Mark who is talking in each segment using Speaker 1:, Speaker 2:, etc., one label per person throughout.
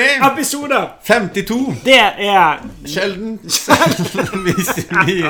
Speaker 1: episode!
Speaker 2: 52!
Speaker 1: Det er
Speaker 2: Sjelden. Hvis vi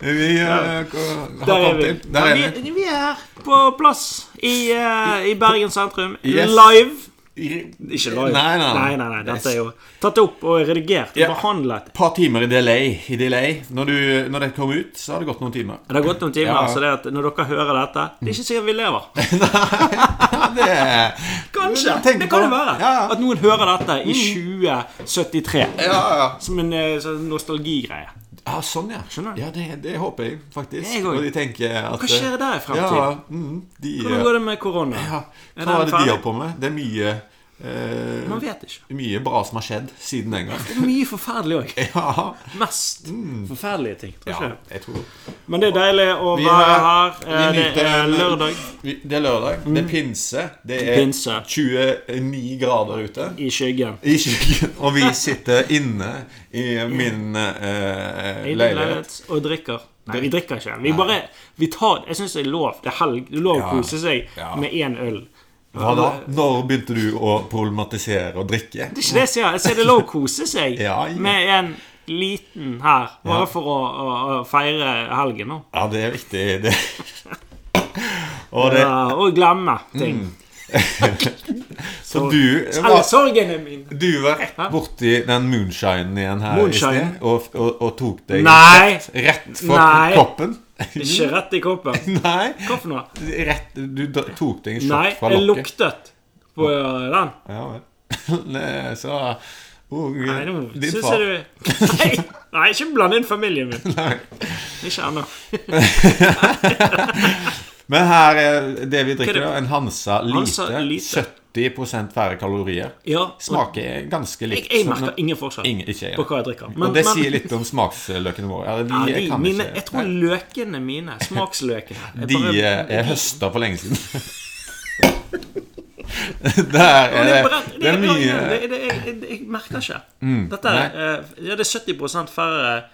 Speaker 2: Vi eh, ko-
Speaker 1: Der
Speaker 2: har
Speaker 1: er vi.
Speaker 2: kommet til. Der er vi.
Speaker 1: vi, vi er på plass i, eh, i Bergen sentrum.
Speaker 2: Yes.
Speaker 1: Live.
Speaker 2: I-
Speaker 1: Ikke live.
Speaker 2: Nei, nei, nei.
Speaker 1: nei, nei. Dette er jo tatt opp og redigert og
Speaker 2: Ja.
Speaker 1: behandlet.
Speaker 2: Et par timer i delay. I delay. Når, du, når det kom ut, så har det gått noen timer.
Speaker 1: Det har gått noen timer,
Speaker 2: Ja.
Speaker 1: så det at når dere hører dette Det er ikke sikkert vi lever.
Speaker 2: Ja, det er-
Speaker 1: Kanskje!
Speaker 2: Tenk
Speaker 1: Det
Speaker 2: på
Speaker 1: kan jo være.
Speaker 2: Ja, Mm. ja.
Speaker 1: At noen hører dette i 2073.
Speaker 2: ja, ja.
Speaker 1: Som en eh, sånn nostalgigreie.
Speaker 2: ja, sånn, ja.
Speaker 1: Skjønner du?
Speaker 2: Ja, det, det håper jeg faktisk.
Speaker 1: Jeg òg.
Speaker 2: Og de tenker at
Speaker 1: Hva skjer der i
Speaker 2: Ja,
Speaker 1: fremtiden?
Speaker 2: mm, de
Speaker 1: Hvordan går det med korona?
Speaker 2: ja,
Speaker 1: Er
Speaker 2: Hva
Speaker 1: den
Speaker 2: er det de
Speaker 1: ferdig?
Speaker 2: har på med? Det er mye eh,
Speaker 1: Man vet ikke.
Speaker 2: Mye bra som har skjedd siden den gang.
Speaker 1: Det er mye forferdelig òg.
Speaker 2: Ja.
Speaker 1: Mest forferdelige ting. Tror
Speaker 2: Eh. Mm. ja
Speaker 1: ikke det?
Speaker 2: jeg tror
Speaker 1: Men det er deilig å
Speaker 2: Vi
Speaker 1: være
Speaker 2: har-
Speaker 1: her.
Speaker 2: vi
Speaker 1: Eh, Det
Speaker 2: nyter
Speaker 1: er
Speaker 2: en-
Speaker 1: lørdag Mm.
Speaker 2: Vi- Det er lørdag. Det er pinse. Det er
Speaker 1: Pinse.
Speaker 2: 29 grader ute.
Speaker 1: i skyggen.
Speaker 2: I kjøkken. Og vi sitter inne i min eh,
Speaker 1: I din
Speaker 2: leilighet.
Speaker 1: leilighet og drikker. Nei, vi drikker ikke. Vi bare, vi tar, jeg syns det er lov. Det er helg. Det er lov å
Speaker 2: Ja.
Speaker 1: kose seg
Speaker 2: Ja.
Speaker 1: med én øl.
Speaker 2: Hva da? Når begynte du å problematisere og
Speaker 1: Det er
Speaker 2: drikke?
Speaker 1: ikke det jeg sier. Jeg sier det er lov å kose seg
Speaker 2: Ja, ja.
Speaker 1: med en liten her. Bare for å, å, å feire helgen nå.
Speaker 2: Ja, det er viktig. Det. Og det,
Speaker 1: Ja, Eh, og glemme ting.
Speaker 2: så du
Speaker 1: Alle
Speaker 2: var,
Speaker 1: sorgene mine.
Speaker 2: du var borti den moonshinen igjen her i
Speaker 1: Moonshine?
Speaker 2: sted og, og, og tok deg
Speaker 1: Nei.
Speaker 2: rett, rett fra
Speaker 1: Nei.
Speaker 2: koppen?
Speaker 1: Ikke rett i koppen.
Speaker 2: Nei.
Speaker 1: Hva for noe?
Speaker 2: Rett, du da- tok deg en
Speaker 1: Nei,
Speaker 2: shot fra
Speaker 1: jeg
Speaker 2: lokket?
Speaker 1: luktet på den.
Speaker 2: Ja vel. Nei, Så og,
Speaker 1: Nei, nå
Speaker 2: din
Speaker 1: syns
Speaker 2: far.
Speaker 1: jeg du Nei, nei ikke bland inn familien min.
Speaker 2: Nei.
Speaker 1: Ikke ennå.
Speaker 2: Men her er det vi drikker,
Speaker 1: Hva er det?
Speaker 2: da. En Hansa lite.
Speaker 1: Hansa lite.
Speaker 2: 70 færre kalorier.
Speaker 1: Ja, og
Speaker 2: Smaker ganske
Speaker 1: jeg,
Speaker 2: likt.
Speaker 1: jeg
Speaker 2: som-
Speaker 1: merker ingen forskjell
Speaker 2: Sånn Ingen- ikke jeg.
Speaker 1: på hva jeg drikker.
Speaker 2: og det sier litt om smaksløkene våre. Ja, de,
Speaker 1: ja, de,
Speaker 2: kan
Speaker 1: mine,
Speaker 2: ikke,
Speaker 1: Jeg tror løkene mine, smaksløkene jeg
Speaker 2: De
Speaker 1: bare-
Speaker 2: eh, er høsta for lenge siden. Der
Speaker 1: Det
Speaker 2: er
Speaker 1: er
Speaker 2: det,
Speaker 1: brent.
Speaker 2: det er mye Mm,
Speaker 1: det- det- Jeg jeg- jeg merker ikke. Dette er, eh, ja, det er 70 færre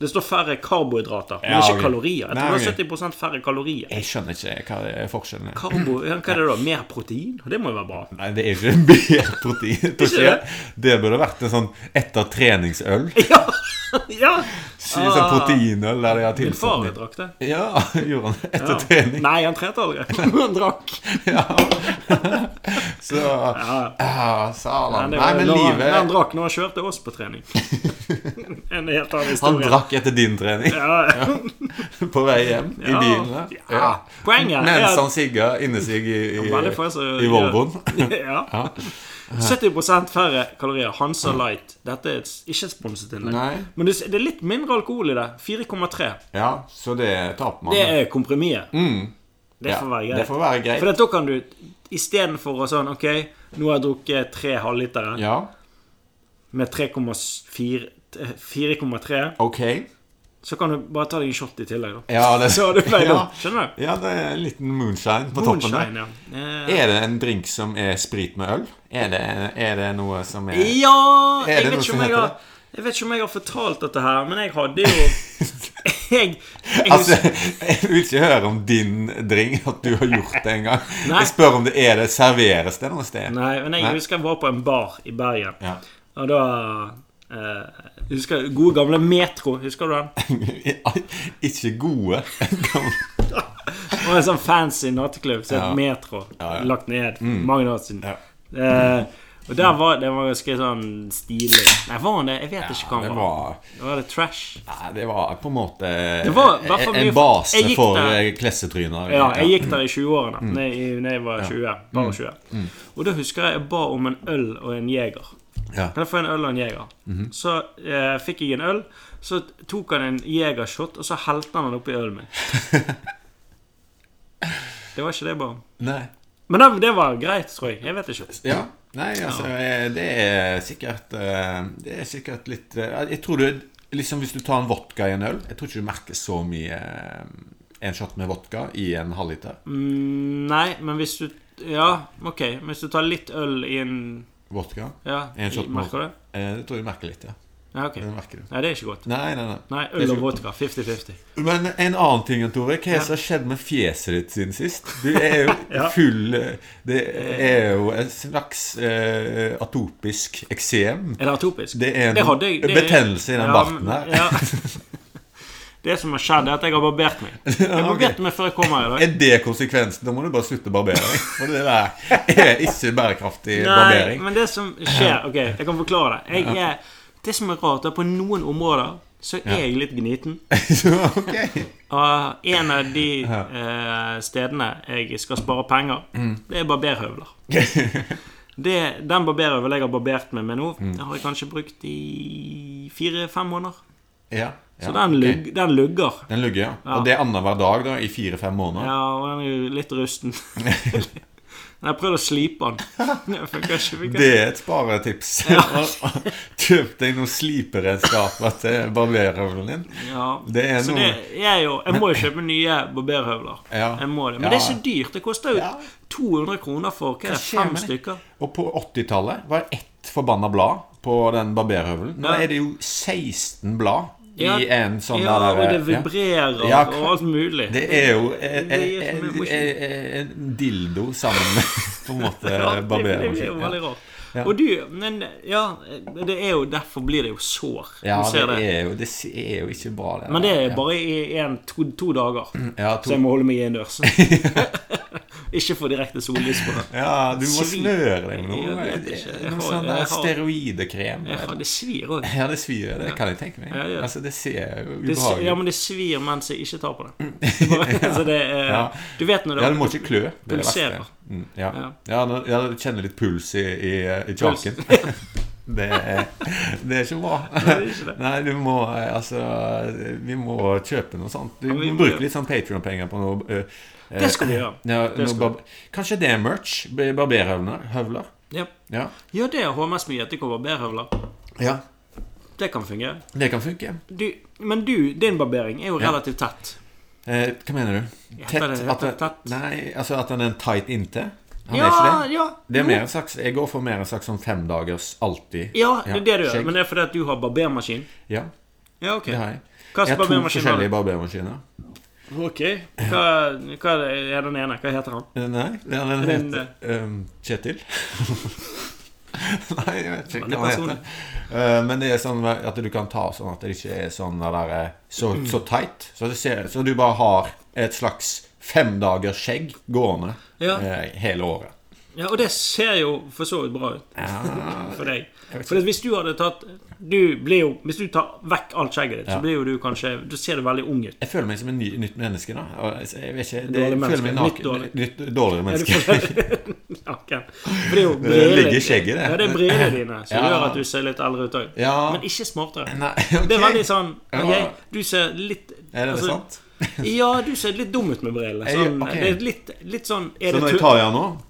Speaker 1: Det står færre karbohydrater, men
Speaker 2: Ja,
Speaker 1: ikke
Speaker 2: ok.
Speaker 1: kalorier. Jeg
Speaker 2: Nei,
Speaker 1: tror det
Speaker 2: ok.
Speaker 1: er 70 færre kalorier.
Speaker 2: Jeg skjønner ikke hva det er forskjellen er.
Speaker 1: Karbo, ja, hva er det da? Mer protein? Det må jo være bra.
Speaker 2: Nei, det er jo ikke mer protein. jeg tror
Speaker 1: Ikke
Speaker 2: ikke det. det burde vært en sånn etter treningsøl.
Speaker 1: Ja! ja.
Speaker 2: Sånn proteinøl der de har
Speaker 1: Min far
Speaker 2: tilsatt
Speaker 1: drakk det.
Speaker 2: Ja, gjorde han det etter
Speaker 1: Ja.
Speaker 2: trening.
Speaker 1: Nei, han trente aldri. Men han drakk.
Speaker 2: Ja. Så ja,
Speaker 1: Men
Speaker 2: Satan.
Speaker 1: det
Speaker 2: Nei,
Speaker 1: var
Speaker 2: men
Speaker 1: når han-
Speaker 2: livet
Speaker 1: Han drakk når han kjørte oss på trening. en helt annen
Speaker 2: Han
Speaker 1: historie.
Speaker 2: drakk etter din trening
Speaker 1: Ja,
Speaker 2: på vei hjem i
Speaker 1: Ja.
Speaker 2: bilen. der. Ja.
Speaker 1: Poenget er
Speaker 2: Mens
Speaker 1: at
Speaker 2: han sigga inni seg i, i,
Speaker 1: Veldig få som
Speaker 2: i
Speaker 1: gjør-
Speaker 2: Volvoen.
Speaker 1: ja. 70 færre kalorier. Hansa Light. Dette er et, ikke et sponset innlegg.
Speaker 2: Nei.
Speaker 1: Men det, det er litt mindre alkohol i det. 4,3.
Speaker 2: Ja, så det taper man.
Speaker 1: Det er kompromisset. Det
Speaker 2: Mm. Ja,
Speaker 1: får være
Speaker 2: det
Speaker 1: greit.
Speaker 2: får være greit.
Speaker 1: For at da kan du istedenfor å sånn OK, nå har jeg drukket tre halvlitere
Speaker 2: Ja,
Speaker 1: med 3,4 4,3,
Speaker 2: ok.
Speaker 1: så kan du bare ta deg en shot i tillegg, da.
Speaker 2: Ja, det,
Speaker 1: Så du pleier
Speaker 2: ja.
Speaker 1: da. Skjønner du?
Speaker 2: ja, det er en liten moonshine på toppen.
Speaker 1: Moonshine, ja.
Speaker 2: der Er det en drink som er sprit med øl? Er det, er det noe som er
Speaker 1: Eh, Ja
Speaker 2: Er det
Speaker 1: jeg vet,
Speaker 2: noe
Speaker 1: ikke
Speaker 2: som
Speaker 1: om jeg,
Speaker 2: heter
Speaker 1: har, jeg vet ikke om jeg har fortalt dette her, men jeg hadde jo Jeg, jeg
Speaker 2: Altså, jeg vil ikke høre om din drink, at du har gjort det en gang. Jeg spør om det er det. Serveres det noe sted?
Speaker 1: Nei, men jeg
Speaker 2: Nei.
Speaker 1: husker jeg var på en bar i Bergen.
Speaker 2: Ja.
Speaker 1: Og da eh, Husker jeg gode gamle Metro. Husker du den?
Speaker 2: ikke gode.
Speaker 1: Og en sånn fancy nattklubb som het
Speaker 2: Ja.
Speaker 1: Metro.
Speaker 2: Ja, ja.
Speaker 1: Lagt ned. Mange år siden.
Speaker 2: Ja.
Speaker 1: Eh, og der var det var ganske sånn stilig. Nei, var han det? Jeg vet ikke hva
Speaker 2: Det
Speaker 1: han var.
Speaker 2: var,
Speaker 1: Det var det trash.
Speaker 2: nei, det var på en måte
Speaker 1: var i hvert fall
Speaker 2: en
Speaker 1: mye-
Speaker 2: base
Speaker 1: jeg gikk
Speaker 2: for
Speaker 1: der.
Speaker 2: eh, klessetryner.
Speaker 1: Ja, jeg gikk der i 20-årene.
Speaker 2: Mm.
Speaker 1: Da jeg, jeg var 20. Bare 20. Og da husker jeg jeg ba om en øl og en jeger.
Speaker 2: Ja.
Speaker 1: Kan jeg få en øl og en jeger?
Speaker 2: Mhm.
Speaker 1: Så eh, fikk jeg en øl. Så tok han en jegershot, og så helte han den oppi ølen min. det var ikke det, bare.
Speaker 2: Nei.
Speaker 1: Men det, det var greit, tror jeg. Jeg vet ikke.
Speaker 2: Ja. Nei, altså eh, Det er sikkert eh, Det er sikkert litt eh, Jeg tror du Liksom Hvis du tar en vodka i en øl Jeg tror ikke du merker så mye eh, en shot med vodka i en halvliter.
Speaker 1: Mm, nei, men hvis du Ja, OK. Men hvis du tar litt øl i en
Speaker 2: Vodka.
Speaker 1: Ja,
Speaker 2: En shot
Speaker 1: merker du det?
Speaker 2: Eh, Det tror jeg du merker litt, ja.
Speaker 1: Ja, ok.
Speaker 2: Det merker du.
Speaker 1: Nei, det er ikke godt.
Speaker 2: Nei, nei, nei.
Speaker 1: Nei,
Speaker 2: Det
Speaker 1: øl
Speaker 2: er
Speaker 1: og
Speaker 2: ikke godt.
Speaker 1: vodka. 50-50.
Speaker 2: Men en annen ting, Jan Tore. Hva er det
Speaker 1: Ja.
Speaker 2: som har skjedd med fjeset ditt siden sist? Du er jo
Speaker 1: Ja.
Speaker 2: full eh, Det er jo en slags eh, atopisk eksem.
Speaker 1: Er det atopisk?
Speaker 2: Det er en
Speaker 1: hadde jeg- det-
Speaker 2: betennelse i den barten
Speaker 1: men-
Speaker 2: her.
Speaker 1: Ja. Det som har skjedd, er at jeg har barbert meg. Jeg barberte meg før jeg kom her i dag.
Speaker 2: Er det konsekvensen? Da må du bare slutte å barbere deg. For det der er ikke bærekraftig
Speaker 1: Nei,
Speaker 2: barbering.
Speaker 1: men det som skjer Ok, jeg kan forklare det. Jeg er, det som er rart, er på noen områder så er jeg litt gniten.
Speaker 2: Så, ok.
Speaker 1: Og en av de eh, stedene jeg skal spare penger,
Speaker 2: Mm.
Speaker 1: det er barberhøvler. Det, den barberhøvelen jeg har barbert meg med nå,
Speaker 2: Mm.
Speaker 1: den har jeg kanskje brukt i fire-fem måneder.
Speaker 2: Ja, ja,
Speaker 1: Så den,
Speaker 2: ok.
Speaker 1: lugg, den lugger.
Speaker 2: Den lugger, ja. Og det er annenhver dag da, i fire-fem måneder.
Speaker 1: Ja, og den er jo litt rusten. Men jeg har prøvd å slipe den. Det funker ikke. funker
Speaker 2: Det er et sparetips. Kjøp deg noen sliperedskaper til barberhøvelen din.
Speaker 1: Ja,
Speaker 2: Det er
Speaker 1: så
Speaker 2: noe-
Speaker 1: det er jo Jeg må jo kjøpe nye barberhøvler.
Speaker 2: Ja.
Speaker 1: Jeg må det. Men
Speaker 2: Ja.
Speaker 1: det er så dyrt. Det koster jo
Speaker 2: Ja.
Speaker 1: 200 kroner for hva er det,
Speaker 2: skjer
Speaker 1: fem
Speaker 2: med det?
Speaker 1: stykker.
Speaker 2: Og på 80-tallet var det ett forbanna blad på den barberhøvelen. Nå
Speaker 1: Ja.
Speaker 2: er det jo 16 blad
Speaker 1: Ja.
Speaker 2: i en sånn
Speaker 1: ja,
Speaker 2: der
Speaker 1: og det
Speaker 2: ja.
Speaker 1: vibrerer
Speaker 2: Ja,
Speaker 1: og alt mulig.
Speaker 2: Det er jo eh,
Speaker 1: Det
Speaker 2: eh,
Speaker 1: gir
Speaker 2: eh,
Speaker 1: for mye
Speaker 2: eh, eh, en dildo sammen med på en måte
Speaker 1: Ja, det- det blir jo
Speaker 2: barbermaskinen.
Speaker 1: veldig
Speaker 2: eh, Ja.
Speaker 1: rart. Og du, men ja Det er jo derfor blir det jo sår.
Speaker 2: Ja,
Speaker 1: du ser det.
Speaker 2: det er jo, det er jo ikke bra, det.
Speaker 1: Men det er
Speaker 2: der.
Speaker 1: bare i en, to, to dager.
Speaker 2: ja,
Speaker 1: Så jeg
Speaker 2: to,
Speaker 1: må holde meg innendørs. ikke få direkte sollys på det.
Speaker 2: ja, du må
Speaker 1: Svir.
Speaker 2: snøre deg med
Speaker 1: Jeg
Speaker 2: noe.
Speaker 1: vet ikke. Jeg
Speaker 2: Noe
Speaker 1: har-
Speaker 2: sånn
Speaker 1: jeg
Speaker 2: der
Speaker 1: har-
Speaker 2: steroidekrem.
Speaker 1: Ja, det svir òg.
Speaker 2: Ja, det svir. Det kan jeg tenke meg.
Speaker 1: Ja, ja.
Speaker 2: Altså, det ser jo
Speaker 1: Det, s- ja,
Speaker 2: ubehagelig ut.
Speaker 1: men det svir mens jeg ikke tar på det. så det er,
Speaker 2: Ja.
Speaker 1: Du vet når det
Speaker 2: Ja, du må ikke klø. Det er det verste.
Speaker 1: Pulserer.
Speaker 2: Mm, ja.
Speaker 1: Ja.
Speaker 2: Ja, nå- ja, du kjenner litt puls i, i, i
Speaker 1: Puls.
Speaker 2: kjaken. Det er, det er ikke bra.
Speaker 1: Nei, det er ikke det.
Speaker 2: Nei, du må eh, Altså, vi må kjøpe noe sånt. Du
Speaker 1: Ja, vi
Speaker 2: må
Speaker 1: må
Speaker 2: bruke
Speaker 1: gjøre-
Speaker 2: litt sånn Patrion-penger på noe eh, eh,
Speaker 1: Det skal vi gjøre.
Speaker 2: Ja,
Speaker 1: Det
Speaker 2: noe
Speaker 1: skal
Speaker 2: barb- Kanskje det er merch? b- Barberhøvler? Høvler?
Speaker 1: Ja,
Speaker 2: Ja.
Speaker 1: ja det er HMS-mye etter barberhøvler.
Speaker 2: ja.
Speaker 1: Det kan fungere.
Speaker 2: Det kan funke.
Speaker 1: Du, men du, din barbering er jo relativt tett.
Speaker 2: Eh, hva mener du?
Speaker 1: Heter det- heter det tett?
Speaker 2: Nei, altså at den er en tight inntil? Han
Speaker 1: Ja,
Speaker 2: er ikke det?
Speaker 1: ja.
Speaker 2: Det er mer en slags, jeg går for mer en slags sånn femdagers alltid.
Speaker 1: Ja, det er det du gjør.
Speaker 2: skjegg.
Speaker 1: Men det er fordi at du har barbermaskin.
Speaker 2: Ja,
Speaker 1: Ja, ok.
Speaker 2: det har jeg.
Speaker 1: Hva
Speaker 2: Jeg
Speaker 1: slags
Speaker 2: har to
Speaker 1: barbermaskin har
Speaker 2: forskjellige
Speaker 1: du?
Speaker 2: barbermaskiner.
Speaker 1: Ok. Hva, hva er den ene? Hva heter han?
Speaker 2: Eh, Nei, den, den
Speaker 1: Den,
Speaker 2: heter ehm, Kjetil. Nei, jeg vet ikke
Speaker 1: Veldig
Speaker 2: hva den heter. Eh, men det er sånn at du kan ta sånn at det ikke er sånn der, eh, så,
Speaker 1: Mm.
Speaker 2: så tight. Så, det ser, så du bare har et slags femdagers skjegg gående
Speaker 1: Ja.
Speaker 2: eh, hele året.
Speaker 1: Ja, Og det ser jo for så vidt bra ut
Speaker 2: Ja,
Speaker 1: for deg.
Speaker 2: vet
Speaker 1: For at hvis du hadde tatt du blir jo, Hvis du tar vekk alt skjegget ditt, så blir jo du kanskje Du ser du veldig ung ut.
Speaker 2: Jeg føler meg som et ny, nytt menneske, da. Og Jeg, jeg vet ikke, det,
Speaker 1: Dårlig
Speaker 2: jeg føler
Speaker 1: menneske.
Speaker 2: meg
Speaker 1: Nytt
Speaker 2: naken.
Speaker 1: dårlig.
Speaker 2: Nytt dårligere
Speaker 1: Er du
Speaker 2: menneske.
Speaker 1: for- Naken. For det er jo
Speaker 2: Det
Speaker 1: brillene-
Speaker 2: ligger i skjegget, det.
Speaker 1: Ja, det er brillene dine som
Speaker 2: Ja.
Speaker 1: gjør at du ser litt eldre ut òg.
Speaker 2: Ja.
Speaker 1: Men ikke smartere.
Speaker 2: Nei, ok.
Speaker 1: Det er veldig sånn ok,
Speaker 2: Ja.
Speaker 1: Du ser litt
Speaker 2: Er det
Speaker 1: altså,
Speaker 2: sant?
Speaker 1: Ja, du ser litt dum ut med brillene.
Speaker 2: Jeg
Speaker 1: Sånn,
Speaker 2: gjør- ok.
Speaker 1: Det er litt, litt sånn er
Speaker 2: Så
Speaker 1: det
Speaker 2: når jeg
Speaker 1: tull-
Speaker 2: tar i den nå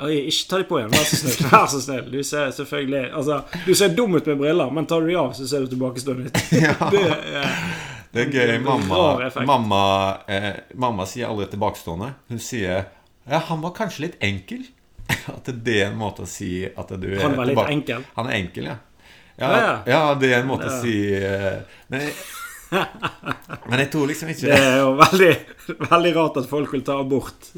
Speaker 1: Oi, Ikke ta de på igjen, vær så snill. Vær så snill. Du ser selvfølgelig Altså, du ser dum ut med briller, men tar du de av, så ser du tilbakestående ut. Det er
Speaker 2: Det er gøy.
Speaker 1: en
Speaker 2: Mamma,
Speaker 1: rar effekt.
Speaker 2: mamma, eh, mamma sier aldri tilbakestående. Hun sier Ja, han var kanskje litt enkel. At det er en måte å si at du er
Speaker 1: Han var litt
Speaker 2: tilbake-
Speaker 1: enkel.
Speaker 2: Han er enkel, ja.
Speaker 1: Ja,
Speaker 2: Ja,
Speaker 1: ja.
Speaker 2: ja, det er en måte
Speaker 1: Ja.
Speaker 2: å si eh, Men jeg, men jeg tror liksom ikke
Speaker 1: Det er jo veldig, veldig rart at folk vil ta abort.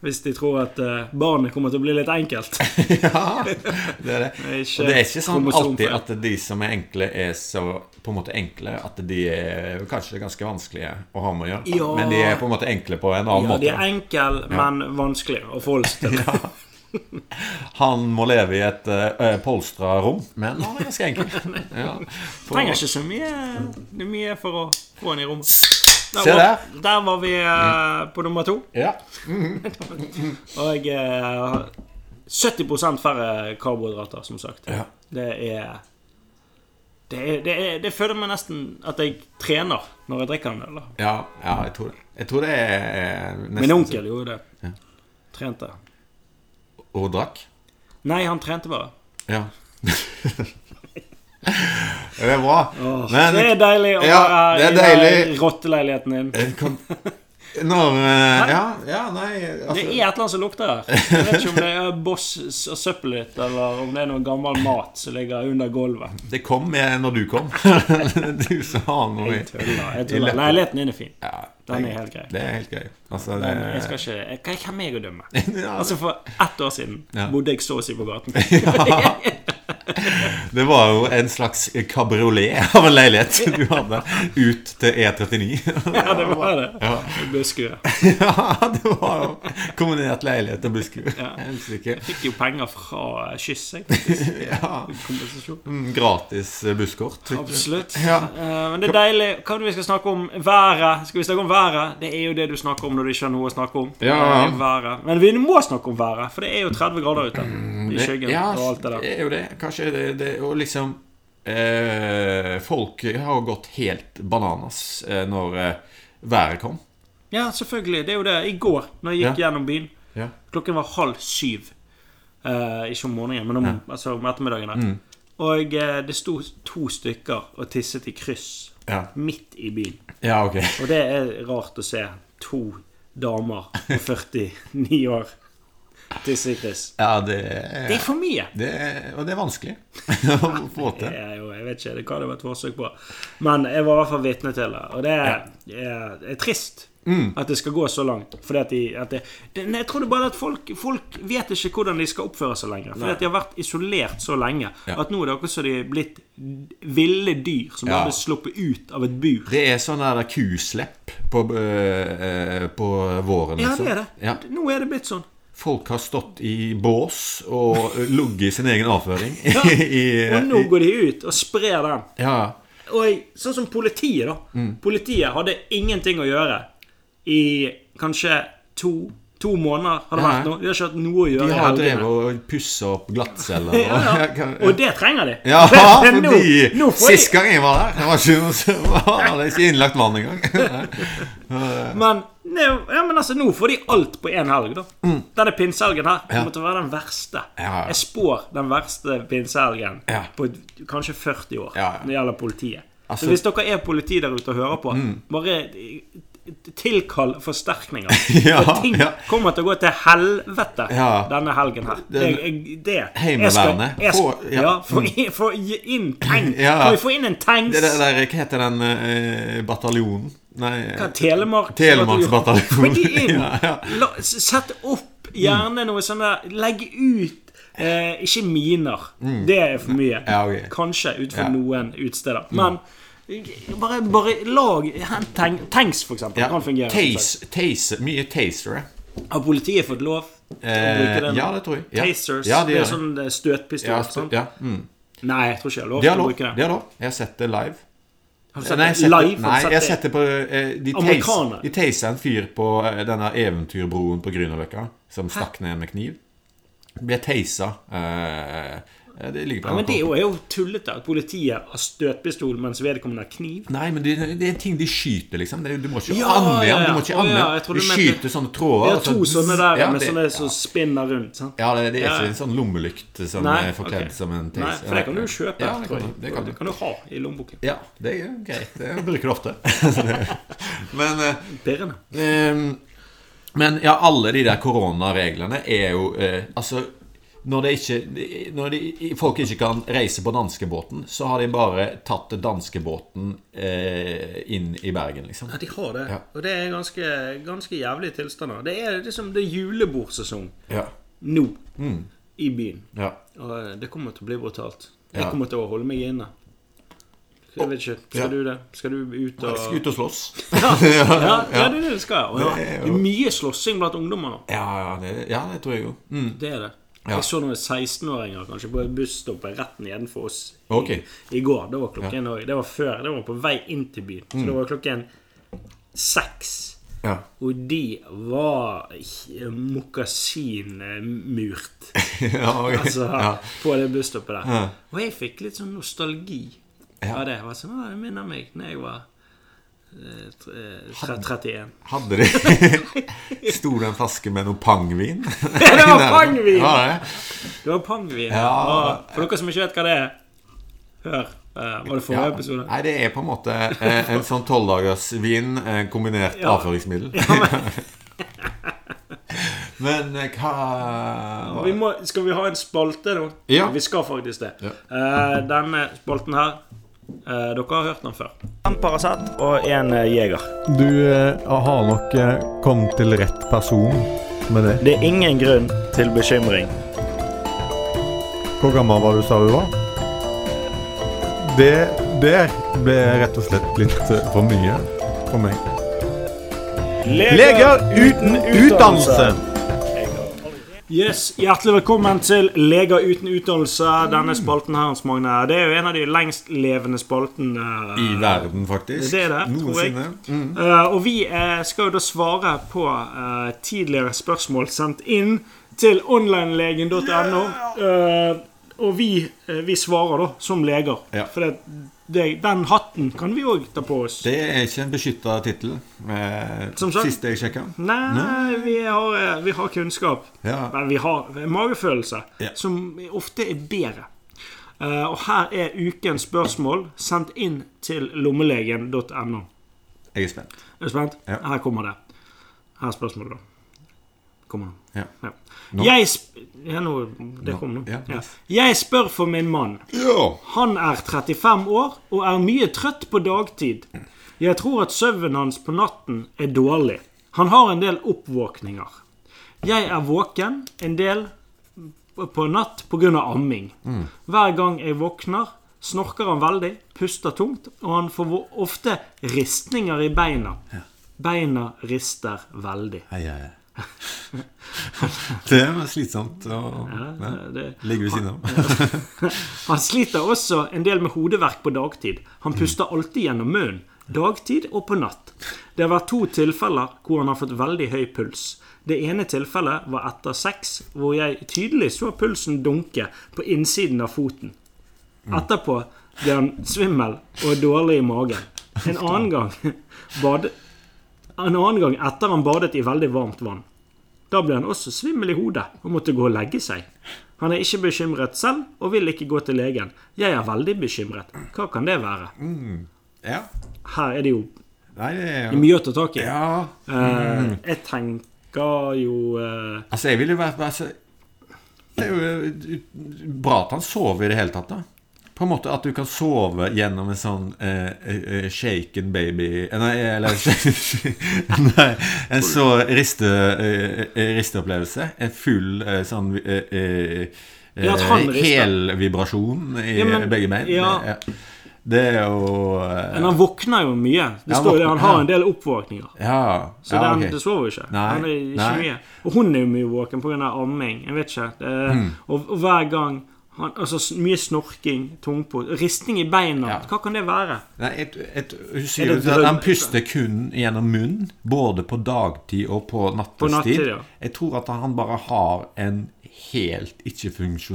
Speaker 1: Hvis de tror at eh, barnet kommer til å bli litt enkelt.
Speaker 2: Ja, det er det.
Speaker 1: er ikke
Speaker 2: og det er ikke sånn alltid
Speaker 1: kromosomfeil.
Speaker 2: at de som er enkle, er så på en måte enkle at de er kanskje ganske vanskelige å ha med å gjøre.
Speaker 1: Ja.
Speaker 2: Men de er på en måte enkle på en annen
Speaker 1: Ja, de er
Speaker 2: måte.
Speaker 1: enkle, men vanskelige å forholde seg til.
Speaker 2: Han må leve i et uh, polstra rom, men han er ganske enkel. Ja. På-
Speaker 1: Trenger ikke så mye, det er mye for å få den i rommet. Der
Speaker 2: Se Mm.
Speaker 1: var, der var vi eh, på nummer to.
Speaker 2: Ja.
Speaker 1: Og eh, 70 færre karbohydrater, som sagt.
Speaker 2: Ja.
Speaker 1: Det er det, er, det, er, det føler meg nesten at jeg trener når jeg drikker en øl. da.
Speaker 2: Ja, ja, jeg tror det. Jeg tror det er eh, nesten
Speaker 1: Min onkel gjorde det. Trente.
Speaker 2: Og drakk.
Speaker 1: Nei, han trente bare.
Speaker 2: Ja. det er bra.
Speaker 1: Åh,
Speaker 2: Men-
Speaker 1: det er deilig å
Speaker 2: Ja,
Speaker 1: være
Speaker 2: det er
Speaker 1: i den
Speaker 2: deilig.
Speaker 1: rotteleiligheten din.
Speaker 2: Jeg kan, eh, Når eh, Ja, ja nei
Speaker 1: Det
Speaker 2: altså,
Speaker 1: er et eller annet som lukter her. Jeg vet ikke om det er boss og søppelet ditt, eller om det er noe gammel mat som ligger under gulvet.
Speaker 2: Det kom eh, når du kom. du som har noe
Speaker 1: Jeg
Speaker 2: i-
Speaker 1: tuller. Jeg
Speaker 2: i
Speaker 1: tuller.
Speaker 2: leppa.
Speaker 1: Leiligheten din er fin.
Speaker 2: ja,
Speaker 1: Den er
Speaker 2: jeg-
Speaker 1: helt grei.
Speaker 2: Det er helt grei. Altså, det,
Speaker 1: Men jeg skal ikke jeg- Hva kan jeg å dømme?
Speaker 2: ja,
Speaker 1: Altså, for ett år siden
Speaker 2: Ja.
Speaker 1: bodde jeg så å si på gaten.
Speaker 2: det var jo en slags kabriolet av en leilighet du hadde ut til E39.
Speaker 1: Ja, det var det.
Speaker 2: Ja.
Speaker 1: Jeg ble skuret.
Speaker 2: ja, det var jo kombinert leilighet og busskur.
Speaker 1: Ja.
Speaker 2: Helsike.
Speaker 1: Jeg fikk jo penger fra Kyss, jeg. faktisk.
Speaker 2: Ja.
Speaker 1: Kompensasjon.
Speaker 2: Mm, Gratis eh, busskort. fikk du.
Speaker 1: Absolutt.
Speaker 2: Ja.
Speaker 1: Eh, Men det er deilig. Hva er det vi skal snakke om? Været. Skal vi snakke om været? Det er jo det du snakker om når du ikke har noe å snakke om.
Speaker 2: Ja.
Speaker 1: Det er været. Men vi må snakke om været, for det er jo 30 grader ute. I skyggen
Speaker 2: Mm, ja,
Speaker 1: og alt det der.
Speaker 2: det er jo det. Kanskje er det, det Og liksom eh, Folk har jo gått helt bananas eh, når eh, været kom.
Speaker 1: Ja, selvfølgelig. Det er jo det. I går, når jeg gikk gjennom byen,
Speaker 2: Ja.
Speaker 1: klokken var halv syv. Eh, ikke om morgenen, men om, altså, om ettermiddagen.
Speaker 2: Mm.
Speaker 1: der. Og eh, det sto to stykker og tisset i kryss
Speaker 2: Ja,
Speaker 1: midt i byen.
Speaker 2: ja ok.
Speaker 1: Og det er rart å se to damer på 49 år tisse i kryss.
Speaker 2: Ja, det er,
Speaker 1: Det er for mye!
Speaker 2: det er, Og det er vanskelig å få
Speaker 1: Det
Speaker 2: til.
Speaker 1: er jo, jeg vet ikke det- hva det var et forsøk på. Men jeg var i hvert fall vitne til det. Og det er, er, er trist at det skal gå så langt. Fordi at de, at det, det, nei, jeg tror det bare er at folk, folk vet ikke hvordan de skal oppføre seg lenger. Fordi at de har vært isolert så lenge
Speaker 2: Ja.
Speaker 1: at nå er det akkurat som de er blitt ville dyr som
Speaker 2: Ja.
Speaker 1: bare blir sluppet ut av et bur.
Speaker 2: Det er sånn der kuslepp på, eh, eh, på våren.
Speaker 1: Ja,
Speaker 2: liksom.
Speaker 1: det er det.
Speaker 2: Ja.
Speaker 1: Nå er det blitt sånn.
Speaker 2: Folk har stått i bås og ligget i sin egen avføring.
Speaker 1: Ja.
Speaker 2: I-
Speaker 1: Og nå går de ut og sprer den.
Speaker 2: Ja,
Speaker 1: Og jeg, sånn som politiet, da.
Speaker 2: Mm.
Speaker 1: Politiet hadde ingenting å gjøre i kanskje to, to måneder. Har det
Speaker 2: Nei.
Speaker 1: vært noe? De har ikke hatt noe å gjøre.
Speaker 2: de
Speaker 1: i
Speaker 2: har
Speaker 1: helgene.
Speaker 2: drevet og pussa opp glattceller.
Speaker 1: ja, ja. Og det trenger de.
Speaker 2: Ja,
Speaker 1: Men nå-
Speaker 2: fordi
Speaker 1: nå får de-
Speaker 2: sist gang jeg var der, det var ikke noe som var ikke innlagt vann engang.
Speaker 1: Men, nei, ja, men altså, nå får de alt på én helg, da. Denne pinsehelgen her
Speaker 2: Mm. Ja.
Speaker 1: kommer til å være den verste.
Speaker 2: Ja.
Speaker 1: Jeg spår den verste pinsehelgen
Speaker 2: Ja.
Speaker 1: på kanskje 40 år
Speaker 2: Ja.
Speaker 1: når det gjelder politiet.
Speaker 2: Altså- Mm.
Speaker 1: Så hvis dere er politi der ute og hører på, bare eh, tilkall forsterkninger.
Speaker 2: Ja,
Speaker 1: For ting
Speaker 2: ja.
Speaker 1: kommer til å gå til helvete
Speaker 2: Ja.
Speaker 1: denne helgen her. Det,
Speaker 2: Den-
Speaker 1: jeg- det. jeg skal-
Speaker 2: Heimevernet.
Speaker 1: jeg skal-
Speaker 2: Få- ja.
Speaker 1: Ja, få i- få i- inn tanks.
Speaker 2: Ja.
Speaker 1: Kan vi få inn en tanks?
Speaker 2: Det der, der, hva heter den eh, bataljonen? Nei eh,
Speaker 1: Hva, Telemark Få
Speaker 2: Telemarksbataljonen.
Speaker 1: de inn.
Speaker 2: Ja, ja.
Speaker 1: La, s- sett opp gjerne noe sånn der Legg ut eh, Ikke miner. Det er for mye.
Speaker 2: Mm. Ja, ok.
Speaker 1: Kanskje utenfor
Speaker 2: Ja. Mm.
Speaker 1: noen utesteder. Men bare, bare lag hent tank- Tanks, for eksempel.
Speaker 2: ja.
Speaker 1: Kan fungere. som sagt.
Speaker 2: Tase, tase, mye tasere.
Speaker 1: Har politiet fått lov til å
Speaker 2: Eh,
Speaker 1: bruke den?
Speaker 2: ja, det tror jeg. Ja.
Speaker 1: Tasers.
Speaker 2: Ja, de
Speaker 1: det
Speaker 2: gjør
Speaker 1: er
Speaker 2: det.
Speaker 1: sånn eh, støtpistol.
Speaker 2: Ja,
Speaker 1: sant?
Speaker 2: ja. Mm.
Speaker 1: Nei, jeg tror ikke jeg har lov
Speaker 2: De har
Speaker 1: til å
Speaker 2: lov.
Speaker 1: bruke
Speaker 2: De
Speaker 1: det.
Speaker 2: har lov. Jeg har sett det live.
Speaker 1: Har du sett
Speaker 2: Nei,
Speaker 1: det
Speaker 2: jeg har sett det-
Speaker 1: live?
Speaker 2: nei,
Speaker 1: Har
Speaker 2: jeg
Speaker 1: du
Speaker 2: har
Speaker 1: sett
Speaker 2: sett det på eh, De tase-
Speaker 1: Amerikanere.
Speaker 2: de tasa en fyr på eh, denne eventyrbroen på Grünerløkka, som stakk ned med kniv. Ble tasa. eh, eh, det ligger på
Speaker 1: Ja, men
Speaker 2: NRK.
Speaker 1: det er jo- er jo tullete at politiet har støtpistol mens vedkommende har kniv.
Speaker 2: Nei, men det, det er ting de skyter, liksom. Det er, du må ikke
Speaker 1: Ja,
Speaker 2: ande
Speaker 1: ja,
Speaker 2: igjen.
Speaker 1: ja.
Speaker 2: Du må ikke
Speaker 1: Å,
Speaker 2: ande
Speaker 1: ja,
Speaker 2: igjen.
Speaker 1: jeg trodde
Speaker 2: du
Speaker 1: du mente-
Speaker 2: skyter sånne tråder.
Speaker 1: Vi har
Speaker 2: og så-
Speaker 1: to sånne der
Speaker 2: ja,
Speaker 1: med
Speaker 2: det-
Speaker 1: sånne som spinner rundt. Sant?
Speaker 2: Ja, det, det er
Speaker 1: Ja,
Speaker 2: ikke
Speaker 1: ja.
Speaker 2: en sånn lommelykt som
Speaker 1: Nei,
Speaker 2: er forkledd
Speaker 1: ok.
Speaker 2: som en tase.
Speaker 1: Nei, for det kan du jo kjøpe.
Speaker 2: Ja,
Speaker 1: tror
Speaker 2: det kan,
Speaker 1: jeg.
Speaker 2: du- det kan du.
Speaker 1: ha i lommeboken.
Speaker 2: Ja, det er jo greit. Det bruker du ofte. Så det- men eh,
Speaker 1: Pirrende.
Speaker 2: Ehm, Men ja, alle de der koronareglene er jo eh, Altså, når, det ikke, når de, folk ikke kan reise på danskebåten, så har de bare tatt danskebåten eh, inn i Bergen, liksom.
Speaker 1: Ja, de har det.
Speaker 2: Ja.
Speaker 1: Og det er ganske, ganske jævlige tilstander. Det er liksom det er julebordsesong
Speaker 2: Ja.
Speaker 1: nå
Speaker 2: Mm.
Speaker 1: i byen.
Speaker 2: ja.
Speaker 1: Og eh, det kommer til å bli brutalt. Jeg
Speaker 2: Ja.
Speaker 1: kommer til å holde meg inne. Jeg vet ikke, Skal
Speaker 2: Ja.
Speaker 1: du det? Skal du ut
Speaker 2: Jeg
Speaker 1: og
Speaker 2: skal ut og slåss.
Speaker 1: Ja, ja, ja, det er det du skal. Og ja.
Speaker 2: Det er
Speaker 1: Det
Speaker 2: jo-
Speaker 1: er mye slåssing blant ungdommer nå.
Speaker 2: Ja, ja, det, ja, det tror jeg jo. Mm.
Speaker 1: Det er det.
Speaker 2: Ja.
Speaker 1: Jeg så noen 16-åringer kanskje på et busstopp rett nedenfor oss i,
Speaker 2: Ok.
Speaker 1: i går. Det var klokken og- Det var før. Det var på vei inn til byen. Så
Speaker 2: Mm.
Speaker 1: det var klokken seks.
Speaker 2: Ja.
Speaker 1: Og de var i- mokasinmurt,
Speaker 2: ja, ok.
Speaker 1: altså,
Speaker 2: ja.
Speaker 1: på det busstoppet der.
Speaker 2: Ja.
Speaker 1: Og jeg fikk litt sånn nostalgi
Speaker 2: Ja.
Speaker 1: av det. Jeg var sånn, «Å, Det minner meg når jeg var eh, tre- eh, tre- 31.
Speaker 2: Hadde de Sto det en flaske med noe pangvin?
Speaker 1: Det var pangvin!
Speaker 2: Ja, det.
Speaker 1: Det var pangvin.
Speaker 2: Ja.
Speaker 1: Og for dere som ikke vet hva det er, hør Eh, var det forrige
Speaker 2: Ja.
Speaker 1: episode?
Speaker 2: Nei, det er på en måte eh, en sånn tolvdagersvin eh, kombinert
Speaker 1: Ja.
Speaker 2: avføringsmiddel. men eh, hva
Speaker 1: Vi må, skal vi ha en spalte nå?
Speaker 2: Ja.
Speaker 1: Vi skal faktisk det.
Speaker 2: Ja.
Speaker 1: Eh, denne spalten her eh, Dere har hørt den før. En Paracet og en Jeger.
Speaker 3: Du eh, har nok eh, kommet til rett person med det.
Speaker 1: Det er ingen grunn til bekymring.
Speaker 3: Hvor gammel var du, sa du var? Det der ble rett og slett litt eh, for mye for meg. Leger uten utdannelse!
Speaker 1: Yes, Hjertelig velkommen til Leger uten utdannelse. Denne spalten her, Hans Magne, det er jo en av de lengstlevende spaltene. eh,
Speaker 2: I verden, faktisk.
Speaker 1: Det er det, tror jeg.
Speaker 2: Noensinne. Mm.
Speaker 1: Eh, og vi eh, skal jo da svare på eh, tidligere spørsmål sendt inn til onlinelegen.no. Eh, og vi, eh, vi svarer da som leger.
Speaker 2: Ja.
Speaker 1: For det, det, den hatten kan vi òg ta på oss.
Speaker 2: Det er ikke en beskytta tittel. Eh,
Speaker 1: Som sagt.
Speaker 2: Siste jeg sjekka.
Speaker 1: Nei, vi har, eh, vi har kunnskap.
Speaker 2: Ja.
Speaker 1: Men vi har en magefølelse,
Speaker 2: Ja.
Speaker 1: som ofte er bedre. Eh, og her er ukens spørsmål sendt inn til lommelegen.no.
Speaker 2: Jeg er spent.
Speaker 1: Er du spent?
Speaker 2: Ja.
Speaker 1: Her kommer det. Her er spørsmålet, da. Kommer det.
Speaker 2: Ja.
Speaker 1: Ja.
Speaker 2: Nå.
Speaker 1: Jeg sp... Ja, nå, det kom nå.
Speaker 2: Ja,
Speaker 1: Ja.
Speaker 2: nice.
Speaker 1: Jeg spør for min mann.
Speaker 2: Ja.
Speaker 1: Han er 35 år og er mye trøtt på dagtid. Jeg tror at søvnen hans på natten er dårlig. Han har en del oppvåkninger. Jeg er våken en del på natt pga. amming. Hver gang jeg våkner, snorker han veldig, puster tungt, og han får vo- ofte ristninger i beina. Beina rister veldig.
Speaker 2: Hei, hei. Det er slitsomt å ja,
Speaker 1: Eh, Det,
Speaker 2: ligge ved siden av.
Speaker 1: Han sliter også en del med hodeverk på dagtid. Han puster alltid gjennom munnen. Dagtid og på natt. Det har vært to tilfeller hvor han har fått veldig høy puls. Det ene tilfellet var etter sex, hvor jeg tydelig så pulsen dunke på innsiden av foten. Etterpå ble han svimmel og dårlig i magen. En annen gang bad, En annen gang etter han badet i veldig varmt vann. Da ble han også svimmel i hodet og måtte gå og legge seg. Han er ikke bekymret selv og vil ikke gå til legen. Jeg er veldig bekymret. Hva kan det være?
Speaker 2: Ja.
Speaker 1: Her er det jo
Speaker 2: Nei, det er jo
Speaker 1: mye å ta tak i.
Speaker 2: Ja.
Speaker 1: Eh, jeg tenker jo eh,
Speaker 2: Altså, jeg ville jo vært altså, Det er jo eh, bra at han sover i det hele tatt, da. På en måte at du kan sove gjennom en sånn eh, eh, shaken baby eh, Nei, eller Nei, en så riste, eh, eh, risteopplevelse. En full eh, sånn eh, eh, eh,
Speaker 1: Ja, at han rister.
Speaker 2: Helvibrasjon i
Speaker 1: Ja, men-
Speaker 2: begge bein.
Speaker 1: ja.
Speaker 2: Ja. Det er jo eh,
Speaker 1: Men han våkner jo mye. Det
Speaker 2: Ja,
Speaker 1: står jo det,
Speaker 2: våkner,
Speaker 1: han har
Speaker 2: ja.
Speaker 1: en del oppvåkninger.
Speaker 2: Ja.
Speaker 1: Så
Speaker 2: ja,
Speaker 1: den,
Speaker 2: ok.
Speaker 1: det sover jo ikke.
Speaker 2: Nei,
Speaker 1: han er ikke
Speaker 2: nei.
Speaker 1: mye. Og hun er jo mye våken pga. amming. Jeg vet ikke. Det, og, og hver gang han, altså, s- Mye snorking, tungpot, risting i beina.
Speaker 2: Ja.
Speaker 1: Hva kan det være?
Speaker 2: Nei, et, et, hun sier jo
Speaker 1: det
Speaker 2: at
Speaker 1: drøm-
Speaker 2: han puster kun gjennom munnen, både på dagtid og på nattestid.
Speaker 1: På nattid, ja.
Speaker 2: Jeg tror at han bare har en helt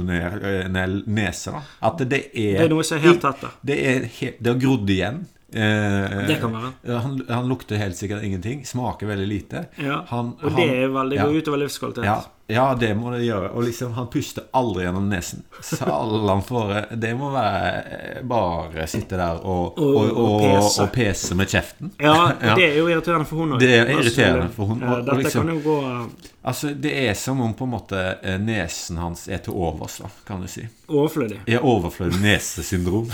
Speaker 2: ikke-funksjonell nese. Da. At det er
Speaker 1: Det er noe som er helt tett der.
Speaker 2: Det er, he- det har grodd igjen. Eh,
Speaker 1: Det kan være.
Speaker 2: Han, han lukter helt sikkert ingenting. Smaker veldig lite.
Speaker 1: Ja.
Speaker 2: Han,
Speaker 1: og det er veldig, går utover livskvalitet.
Speaker 2: ja, ja, det må det gjøre. Og liksom, han puster aldri gjennom nesen. Salan fåre. Det må være eh, bare sitte der og,
Speaker 1: Og-
Speaker 2: og,
Speaker 1: og
Speaker 2: og, og,
Speaker 1: pese.
Speaker 2: pese med kjeften.
Speaker 1: Ja, det
Speaker 2: Ja.
Speaker 1: er jo irriterende for hun òg.
Speaker 2: Det er irriterende for hun, og- og
Speaker 1: Dette
Speaker 2: liksom-
Speaker 1: kan jo gå eh,
Speaker 2: Altså, det er som om på en måte eh, nesen hans er til overs, da, kan du si.
Speaker 1: overflødig.
Speaker 2: Er overflødig nesesyndrom.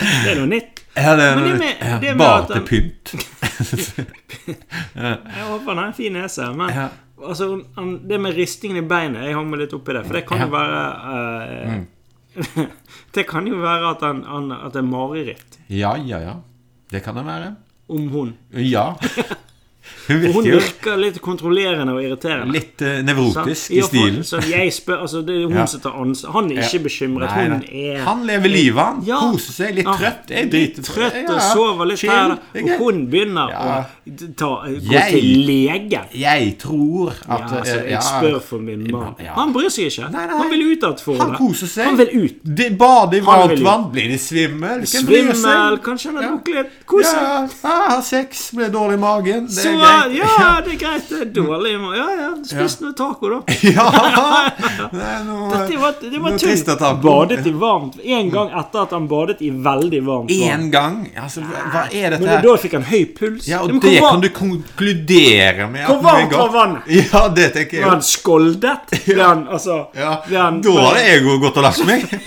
Speaker 1: Det er noe nytt.
Speaker 2: Er det,
Speaker 1: Men det med- det med
Speaker 2: bare
Speaker 1: at
Speaker 2: til
Speaker 1: han-
Speaker 2: pynt?
Speaker 1: Jeg håper han har en fin nese. Men
Speaker 2: Ja.
Speaker 1: altså, han- det med ristingen i beinet Jeg hang meg litt oppi det, for det kan jo være
Speaker 2: Mm.
Speaker 1: eh, Det kan jo være at, han, han, at det er mareritt
Speaker 2: Ja, ja, ja. Det kan det være.
Speaker 1: om hun.
Speaker 2: Ja. Hun
Speaker 1: Og hun
Speaker 2: virker jo
Speaker 1: virker litt kontrollerende og irriterende.
Speaker 2: litt eh,
Speaker 1: sant?
Speaker 2: nevrotisk i
Speaker 1: Ja, for-
Speaker 2: stilen.
Speaker 1: Så jeg spør, altså, det er hun
Speaker 2: Ja.
Speaker 1: som tar ansvar. Han er ikke bekymret.
Speaker 2: Nei,
Speaker 1: Hun
Speaker 2: nei.
Speaker 1: er
Speaker 2: Han lever livet, han.
Speaker 1: Ja.
Speaker 2: Koser seg. Litt
Speaker 1: Ja,
Speaker 2: trøtt. Jeg
Speaker 1: litt
Speaker 2: driter
Speaker 1: trøtt og sover litt her. da. Og hun begynner
Speaker 2: Ja.
Speaker 1: å ta, gå
Speaker 2: Jeg-
Speaker 1: til legen.
Speaker 2: Jeg tror
Speaker 1: Ja,
Speaker 2: at
Speaker 1: altså,
Speaker 2: eh,
Speaker 1: jeg
Speaker 2: ja.
Speaker 1: spør for min mann.
Speaker 2: Ja.
Speaker 1: Han bryr seg ikke.
Speaker 2: Nei, nei.
Speaker 1: Han vil ut igjen for
Speaker 2: Han koser seg.
Speaker 1: Han vil ut.
Speaker 2: De bader i
Speaker 1: Han vil
Speaker 2: varmt
Speaker 1: jo-
Speaker 2: vann. Blir de svimmel? Hvem bryr seg?
Speaker 1: Svimmel. Kanskje han har drukket litt. Kos
Speaker 2: Ja, Ah,
Speaker 1: seg.
Speaker 2: ja, ja, har sex, blir dårlig i magen. Det
Speaker 1: Så
Speaker 2: er
Speaker 1: ja, det er greit. Det er dårlig. men- Ja, ja. Spis noe taco, da.
Speaker 2: Ja! Det er noe
Speaker 1: Dette var, det var
Speaker 2: noe
Speaker 1: tull.
Speaker 2: trist at han-
Speaker 1: Badet i varmt En gang etter at han badet i veldig varmt vann.
Speaker 2: Én gang? Altså, hva er dette
Speaker 1: Men
Speaker 2: her?
Speaker 1: da fikk han høy puls.
Speaker 2: Ja,
Speaker 1: Men
Speaker 2: og
Speaker 1: hvor
Speaker 2: det
Speaker 1: var-
Speaker 2: kan du konkludere med. at
Speaker 1: Hvor
Speaker 2: noe
Speaker 1: varmt
Speaker 2: er godt.
Speaker 1: var vannet?
Speaker 2: Ja, det tenker jeg.
Speaker 1: Ble han skoldet? Ble han, altså,
Speaker 2: Ja,
Speaker 1: ble han,
Speaker 2: da hadde jeg jo gått og lagt meg.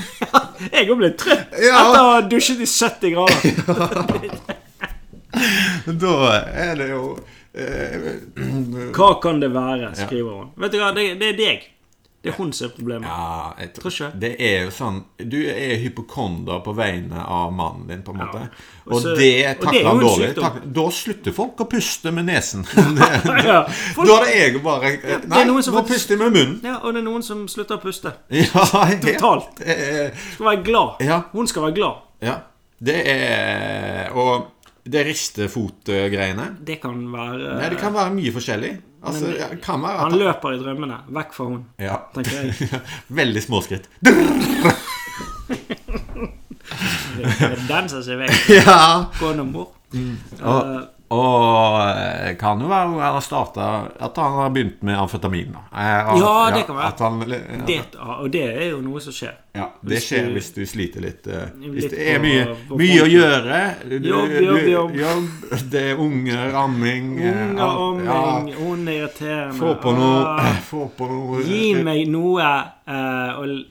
Speaker 1: Jeg òg ble trøtt
Speaker 2: Ja.
Speaker 1: etter å ha dusjet i 70 grader.
Speaker 2: Da er det jo eh,
Speaker 1: Hva kan det være, skriver han. Vet du hva, det, det er deg. Det er hun som er problemet.
Speaker 2: Ja, jeg tror,
Speaker 1: Tror ikke jeg.
Speaker 2: det er jo sånn Du er hypokonder på vegne av mannen din, på en måte. Og,
Speaker 1: så- og
Speaker 2: det
Speaker 1: det er
Speaker 2: takler
Speaker 1: jo en
Speaker 2: han dårlig.
Speaker 1: sykdom.
Speaker 2: Tak- da slutter folk å puste med nesen.
Speaker 1: Ja, folk,
Speaker 2: da er det jeg bare Nei,
Speaker 1: er noen som
Speaker 2: nå
Speaker 1: faktisk-
Speaker 2: puster jeg med munnen.
Speaker 1: ja, og det er noen som slutter å puste.
Speaker 2: Ja, helt,
Speaker 1: Totalt.
Speaker 2: eh,
Speaker 1: Skal være glad.
Speaker 2: Ja.
Speaker 1: Hun skal være glad.
Speaker 2: ja. Det er Og det ristefotgreiene
Speaker 1: Det kan være
Speaker 2: Nei, Det kan være mye forskjellig. Altså,
Speaker 1: Men-
Speaker 2: ja, det kan være
Speaker 1: Han
Speaker 2: at
Speaker 1: løper i drømmene. Vekk fra hun.
Speaker 2: ja.
Speaker 1: tenker
Speaker 2: Veldig små skritt.
Speaker 1: Det er Den som ser vekk.
Speaker 2: Ja.
Speaker 1: Gå nå, mor.
Speaker 2: Mm.
Speaker 1: Eh,
Speaker 2: Og, og eh, kan jo være han har starta At han har begynt med amfetamin. da. Eh, at-
Speaker 1: Ja, det kan være.
Speaker 2: At han, at,
Speaker 1: Det, og det er jo noe som skjer.
Speaker 2: ja, det
Speaker 1: Hvis
Speaker 2: skjer
Speaker 1: du-
Speaker 2: hvis du sliter litt. eh,
Speaker 1: Litt
Speaker 2: hvis det er
Speaker 1: på-
Speaker 2: mye,
Speaker 1: på
Speaker 2: mye å gjøre du,
Speaker 1: Jobb,
Speaker 2: du-
Speaker 1: jobb, jobb.
Speaker 2: jobb, Det er unger, amming eh,
Speaker 1: Unger
Speaker 2: alt-
Speaker 1: om
Speaker 2: ja,
Speaker 1: meg, hun er irriterende.
Speaker 2: Få på noe,
Speaker 1: Ah.
Speaker 2: få på noe
Speaker 1: Gi meg noe eh, og, l-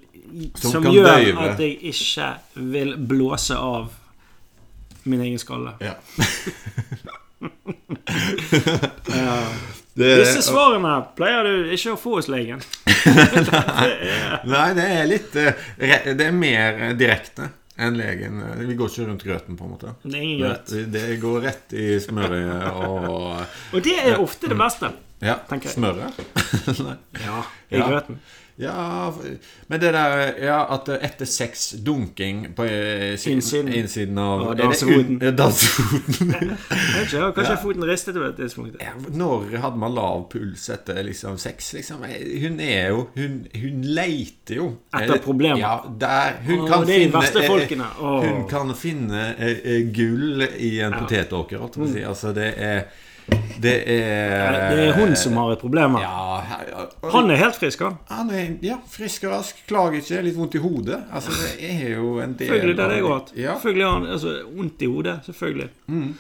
Speaker 2: Som
Speaker 1: som,
Speaker 2: kan
Speaker 1: gjør
Speaker 2: døyve.
Speaker 1: at jeg ikke vil blåse av min egen skalle.
Speaker 2: ja.
Speaker 1: Eh, Disse
Speaker 2: det,
Speaker 1: svarene pleier du ikke å få hos legen.
Speaker 2: nei, det er litt eh, re- Det er mer eh, direkte enn legen. Vi går ikke rundt grøten, på en måte.
Speaker 1: Det er ingen greit.
Speaker 2: Det, det går rett i smøret og
Speaker 1: Og det er ofte det beste.
Speaker 2: Ja,
Speaker 1: Tenker jeg.
Speaker 2: smøret? Nei.
Speaker 1: Ja, I
Speaker 2: Ja.
Speaker 1: grøten.
Speaker 2: ja, men det der ja, at etter sex dunking på eh, siden-
Speaker 1: Innsiden.
Speaker 2: innsiden av
Speaker 1: Og
Speaker 2: er det
Speaker 1: dansefoten.
Speaker 2: un- eh, dansefoten.
Speaker 1: Jeg vet ikke, jeg har Kanskje foten ristet på et tidspunkt.
Speaker 2: Ja, Når hadde man lav puls etter liksom sex? Liksom? Hun er jo Hun, hun leiter jo.
Speaker 1: Etter problemer.
Speaker 2: Ja, der, hun
Speaker 1: Åh,
Speaker 2: kan
Speaker 1: det er de
Speaker 2: finne,
Speaker 1: verste
Speaker 2: eh,
Speaker 1: folkene. Åh.
Speaker 2: Hun kan finne eh, eh, gull i en potetåker, holdt jeg på å si. Altså, det er Det er
Speaker 1: Mm. Det er hun som har et problem. her.
Speaker 2: Ja, her- og-
Speaker 1: Han er helt frisk, han.
Speaker 2: Han er ja, frisk og rask, klager ikke, litt vondt i hodet. Altså, det er jo en del
Speaker 1: Selvfølgelig. Det
Speaker 2: av-
Speaker 1: er det jeg har hatt.
Speaker 2: Ja. Mm.
Speaker 1: Selvfølgelig har han altså, vondt i hodet. Selvfølgelig.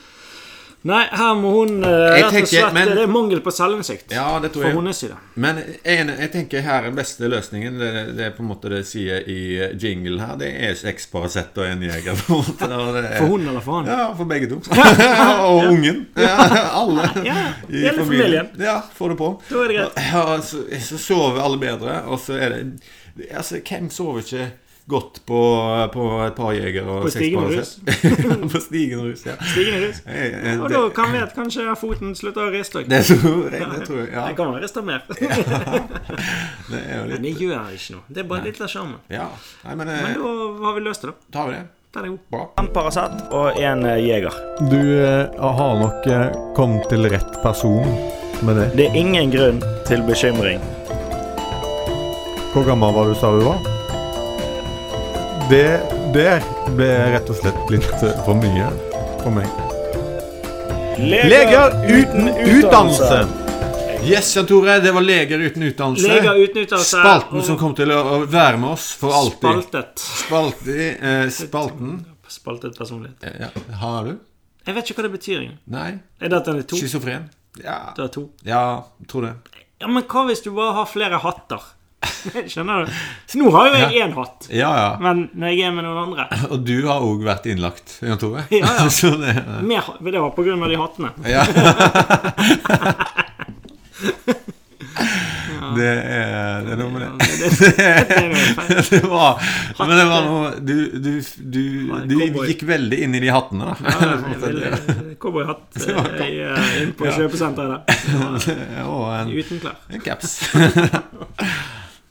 Speaker 1: Nei, her må hun eh, rett og
Speaker 2: tenker-
Speaker 1: slett
Speaker 2: men-
Speaker 1: Det er mangel på selvinnsikt
Speaker 2: ja, det tror
Speaker 1: fra
Speaker 2: jeg.
Speaker 1: hennes side.
Speaker 2: Men en, jeg tenker her den beste løsningen, det, det er på en måte det sier i eh, jingle her, det er seks Paracet og en jeger. på en måte, og det er-
Speaker 1: For hun eller for han.
Speaker 2: Eh, Ja, for begge to. og ungen. Ja, alle
Speaker 1: Ja, hele familien.
Speaker 2: Ja, får det på.
Speaker 1: Da er det greit.
Speaker 2: Ja, så, så sover alle bedre, og så er det Altså, hvem sover ikke godt på, på et par jegere og
Speaker 1: På
Speaker 2: seks
Speaker 1: Stigen og
Speaker 2: Paracet? på stigen og rus, ja.
Speaker 1: Stigende rus.
Speaker 2: Eh, eh,
Speaker 1: Og
Speaker 2: Det,
Speaker 1: da kan vi at kanskje foten slutter å riste.
Speaker 2: det, tror jeg, det tror jeg. Ja,
Speaker 1: Den kan riste mer.
Speaker 2: det er jo
Speaker 1: Men
Speaker 2: litt
Speaker 1: det gjør ikke noe. Det er bare litt av sjarmen.
Speaker 2: Ja. Nei, men
Speaker 1: Men
Speaker 2: eh,
Speaker 1: da har vi løst det, da.
Speaker 2: tar vi det.
Speaker 1: Den er god.
Speaker 2: Bra.
Speaker 1: En Paracet og en Jeger.
Speaker 3: Du eh, har nok eh, kommet til rett person med det.
Speaker 1: Det er ingen grunn til bekymring.
Speaker 3: Hvor gammel var du, sa du var? Det der ble rett og slett litt eh, for mye for meg. Leger uten utdannelse!
Speaker 2: Yes, Jan Tore, det var leger uten utdannelse.
Speaker 1: Leger uten utdannelse.
Speaker 2: Spalten
Speaker 1: og
Speaker 2: som kom til å å være med oss for alltid.
Speaker 1: Spaltet.
Speaker 2: Spalt, eh, spalten
Speaker 1: Spaltet personlighet.
Speaker 2: Eh, ja. Har du?
Speaker 1: Jeg vet ikke hva det betyr engang.
Speaker 2: Nei.
Speaker 1: Er det at den er to?
Speaker 2: Schizofren? Ja.
Speaker 1: Det er to.
Speaker 2: ja, tror det.
Speaker 1: Ja, men hva hvis du bare har flere hatter? Skjønner du? Så nå har jo jeg én hatt.
Speaker 2: Ja, ja.
Speaker 1: Men når jeg er med noen andre
Speaker 2: Og du har òg vært innlagt, Jan Tore.
Speaker 1: Ja, ja.
Speaker 2: Så det,
Speaker 1: mer, Det var på grunn av de hattene.
Speaker 2: ja. det er Det er noe med det. det var, men det var noe Du, du, du, du
Speaker 1: cowboy.
Speaker 2: gikk veldig inn i de hattene, da.
Speaker 1: Cowboyhatt eh, i, eh, inn på kjøpesenteret der.
Speaker 2: Og en,
Speaker 1: Uten klær.
Speaker 2: en caps.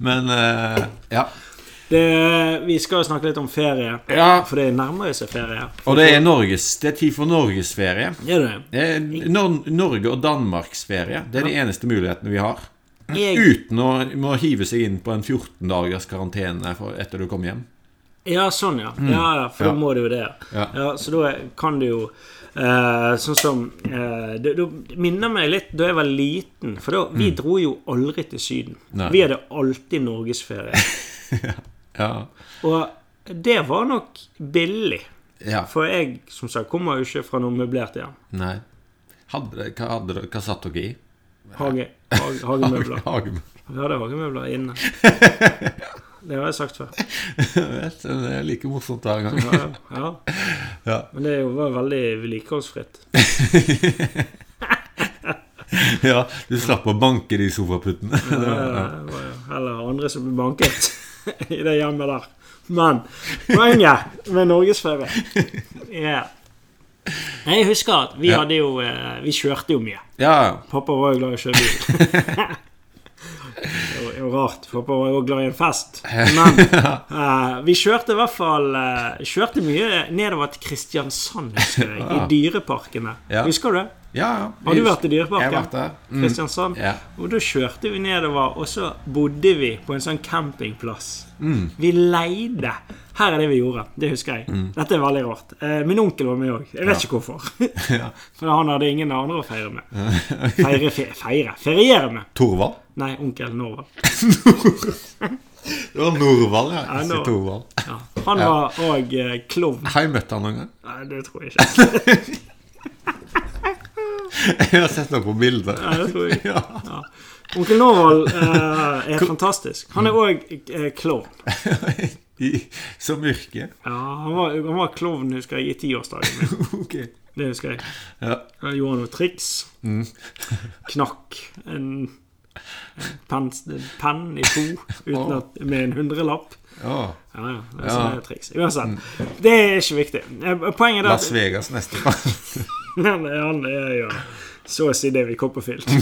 Speaker 2: Men eh, ja.
Speaker 1: Det, vi skal jo snakke litt om ferie,
Speaker 2: ja.
Speaker 1: for det nærmer jo seg ferie.
Speaker 2: Og det er Norges Det er tid for norgesferie.
Speaker 1: Er det det?
Speaker 2: Det er Nor Norge og Danmarksferie. Det er de eneste mulighetene vi har.
Speaker 1: Jeg,
Speaker 2: Uten å må hive seg inn på en 14 dagers karantene for, etter du kom hjem.
Speaker 1: ja, sånn, ja. Ja, ja, For
Speaker 2: Mm. Ja.
Speaker 1: da må du jo det.
Speaker 2: Ja.
Speaker 1: Ja, så da kan du jo Eh, sånn som eh, det, det minner meg litt da jeg var liten. For da, vi dro jo aldri til Syden.
Speaker 2: Mm. Nei.
Speaker 1: Vi hadde alltid norgesferie.
Speaker 2: Ja.
Speaker 1: Og det var nok billig.
Speaker 2: ja.
Speaker 1: For jeg som sagt, kommer jo ikke fra noe møblert hjem.
Speaker 2: Nei. Hadde, dere- hva, hadde, dere- hva satt dere i?
Speaker 1: Hage, hage, hagemøbler.
Speaker 2: Hagemøbler.
Speaker 1: Vi hadde hagemøbler inne. Det har jeg sagt før.
Speaker 2: Vet, Det er like morsomt hver gang.
Speaker 1: Ja, ja.
Speaker 2: Ja.
Speaker 1: Men det er jo- var veldig vedlikeholdsfritt.
Speaker 2: Ja, du slapp å banke de sofaputtene.
Speaker 1: Eh, Det var jo heller andre som ble banket i det hjemmet der. Men poenget med norgesferie yeah. Jeg husker at vi
Speaker 2: Ja.
Speaker 1: hadde jo eh, Vi kjørte jo mye.
Speaker 2: Ja,
Speaker 1: Pappa var jo glad i å kjøre bil. Det var jo rart. Pappa var jo glad i en fest. Men eh, vi kjørte i hvert fall eh, Kjørte mye nedover til Kristiansand, husker jeg. I dyreparkene.
Speaker 2: Ah. Ja.
Speaker 1: Husker du det?
Speaker 2: ja. ja.
Speaker 1: Har du vært i
Speaker 2: Jeg
Speaker 1: Dyreparken?
Speaker 2: har vært der. Mm.
Speaker 1: Kristiansand.
Speaker 2: Ja.
Speaker 1: Og da kjørte vi nedover, og så bodde vi på en sånn campingplass. Vi leide. Her er det vi gjorde. Det husker jeg. Dette er veldig rart. Eh, min onkel var med òg. Jeg vet ikke hvorfor.
Speaker 2: Ja.
Speaker 1: For han hadde ingen andre å feire med. Feire, fe, feire. Feriere med.
Speaker 2: Torvald?
Speaker 1: Nei, onkel Norvald.
Speaker 2: Det var Norvald, ja.
Speaker 1: Ja,
Speaker 2: Ikke
Speaker 1: Nor-
Speaker 2: Torvald.
Speaker 1: Ja. Han var òg eh, klovn.
Speaker 2: Har jeg møtt han noen gang?
Speaker 1: Nei, det tror jeg ikke.
Speaker 2: Jeg har sett ham på bilder.
Speaker 1: Nei, det tror jeg ikke.
Speaker 2: Ja.
Speaker 1: Ja. Onkel Norvald eh, er fantastisk. Han er òg eh, klovn.
Speaker 2: I, som yrke.
Speaker 1: Ja, han var, han var klovn, husker jeg, i tiårsdagen min.
Speaker 2: Ok.
Speaker 1: Det husker jeg.
Speaker 2: Ja.
Speaker 1: Han gjorde noe triks.
Speaker 2: Mm.
Speaker 1: Knakk en en penn en penn i to uten at, med en hundrelapp.
Speaker 2: Å,
Speaker 1: Ja, ja. Det er
Speaker 2: Ja. Mm.
Speaker 1: sånne triks. Uansett. Det er ikke viktig. Eh, Poenget er
Speaker 2: Las
Speaker 1: at
Speaker 2: Vegas neste gang.
Speaker 1: han, han er jo så å si det vi kopperfilt.
Speaker 2: Mm.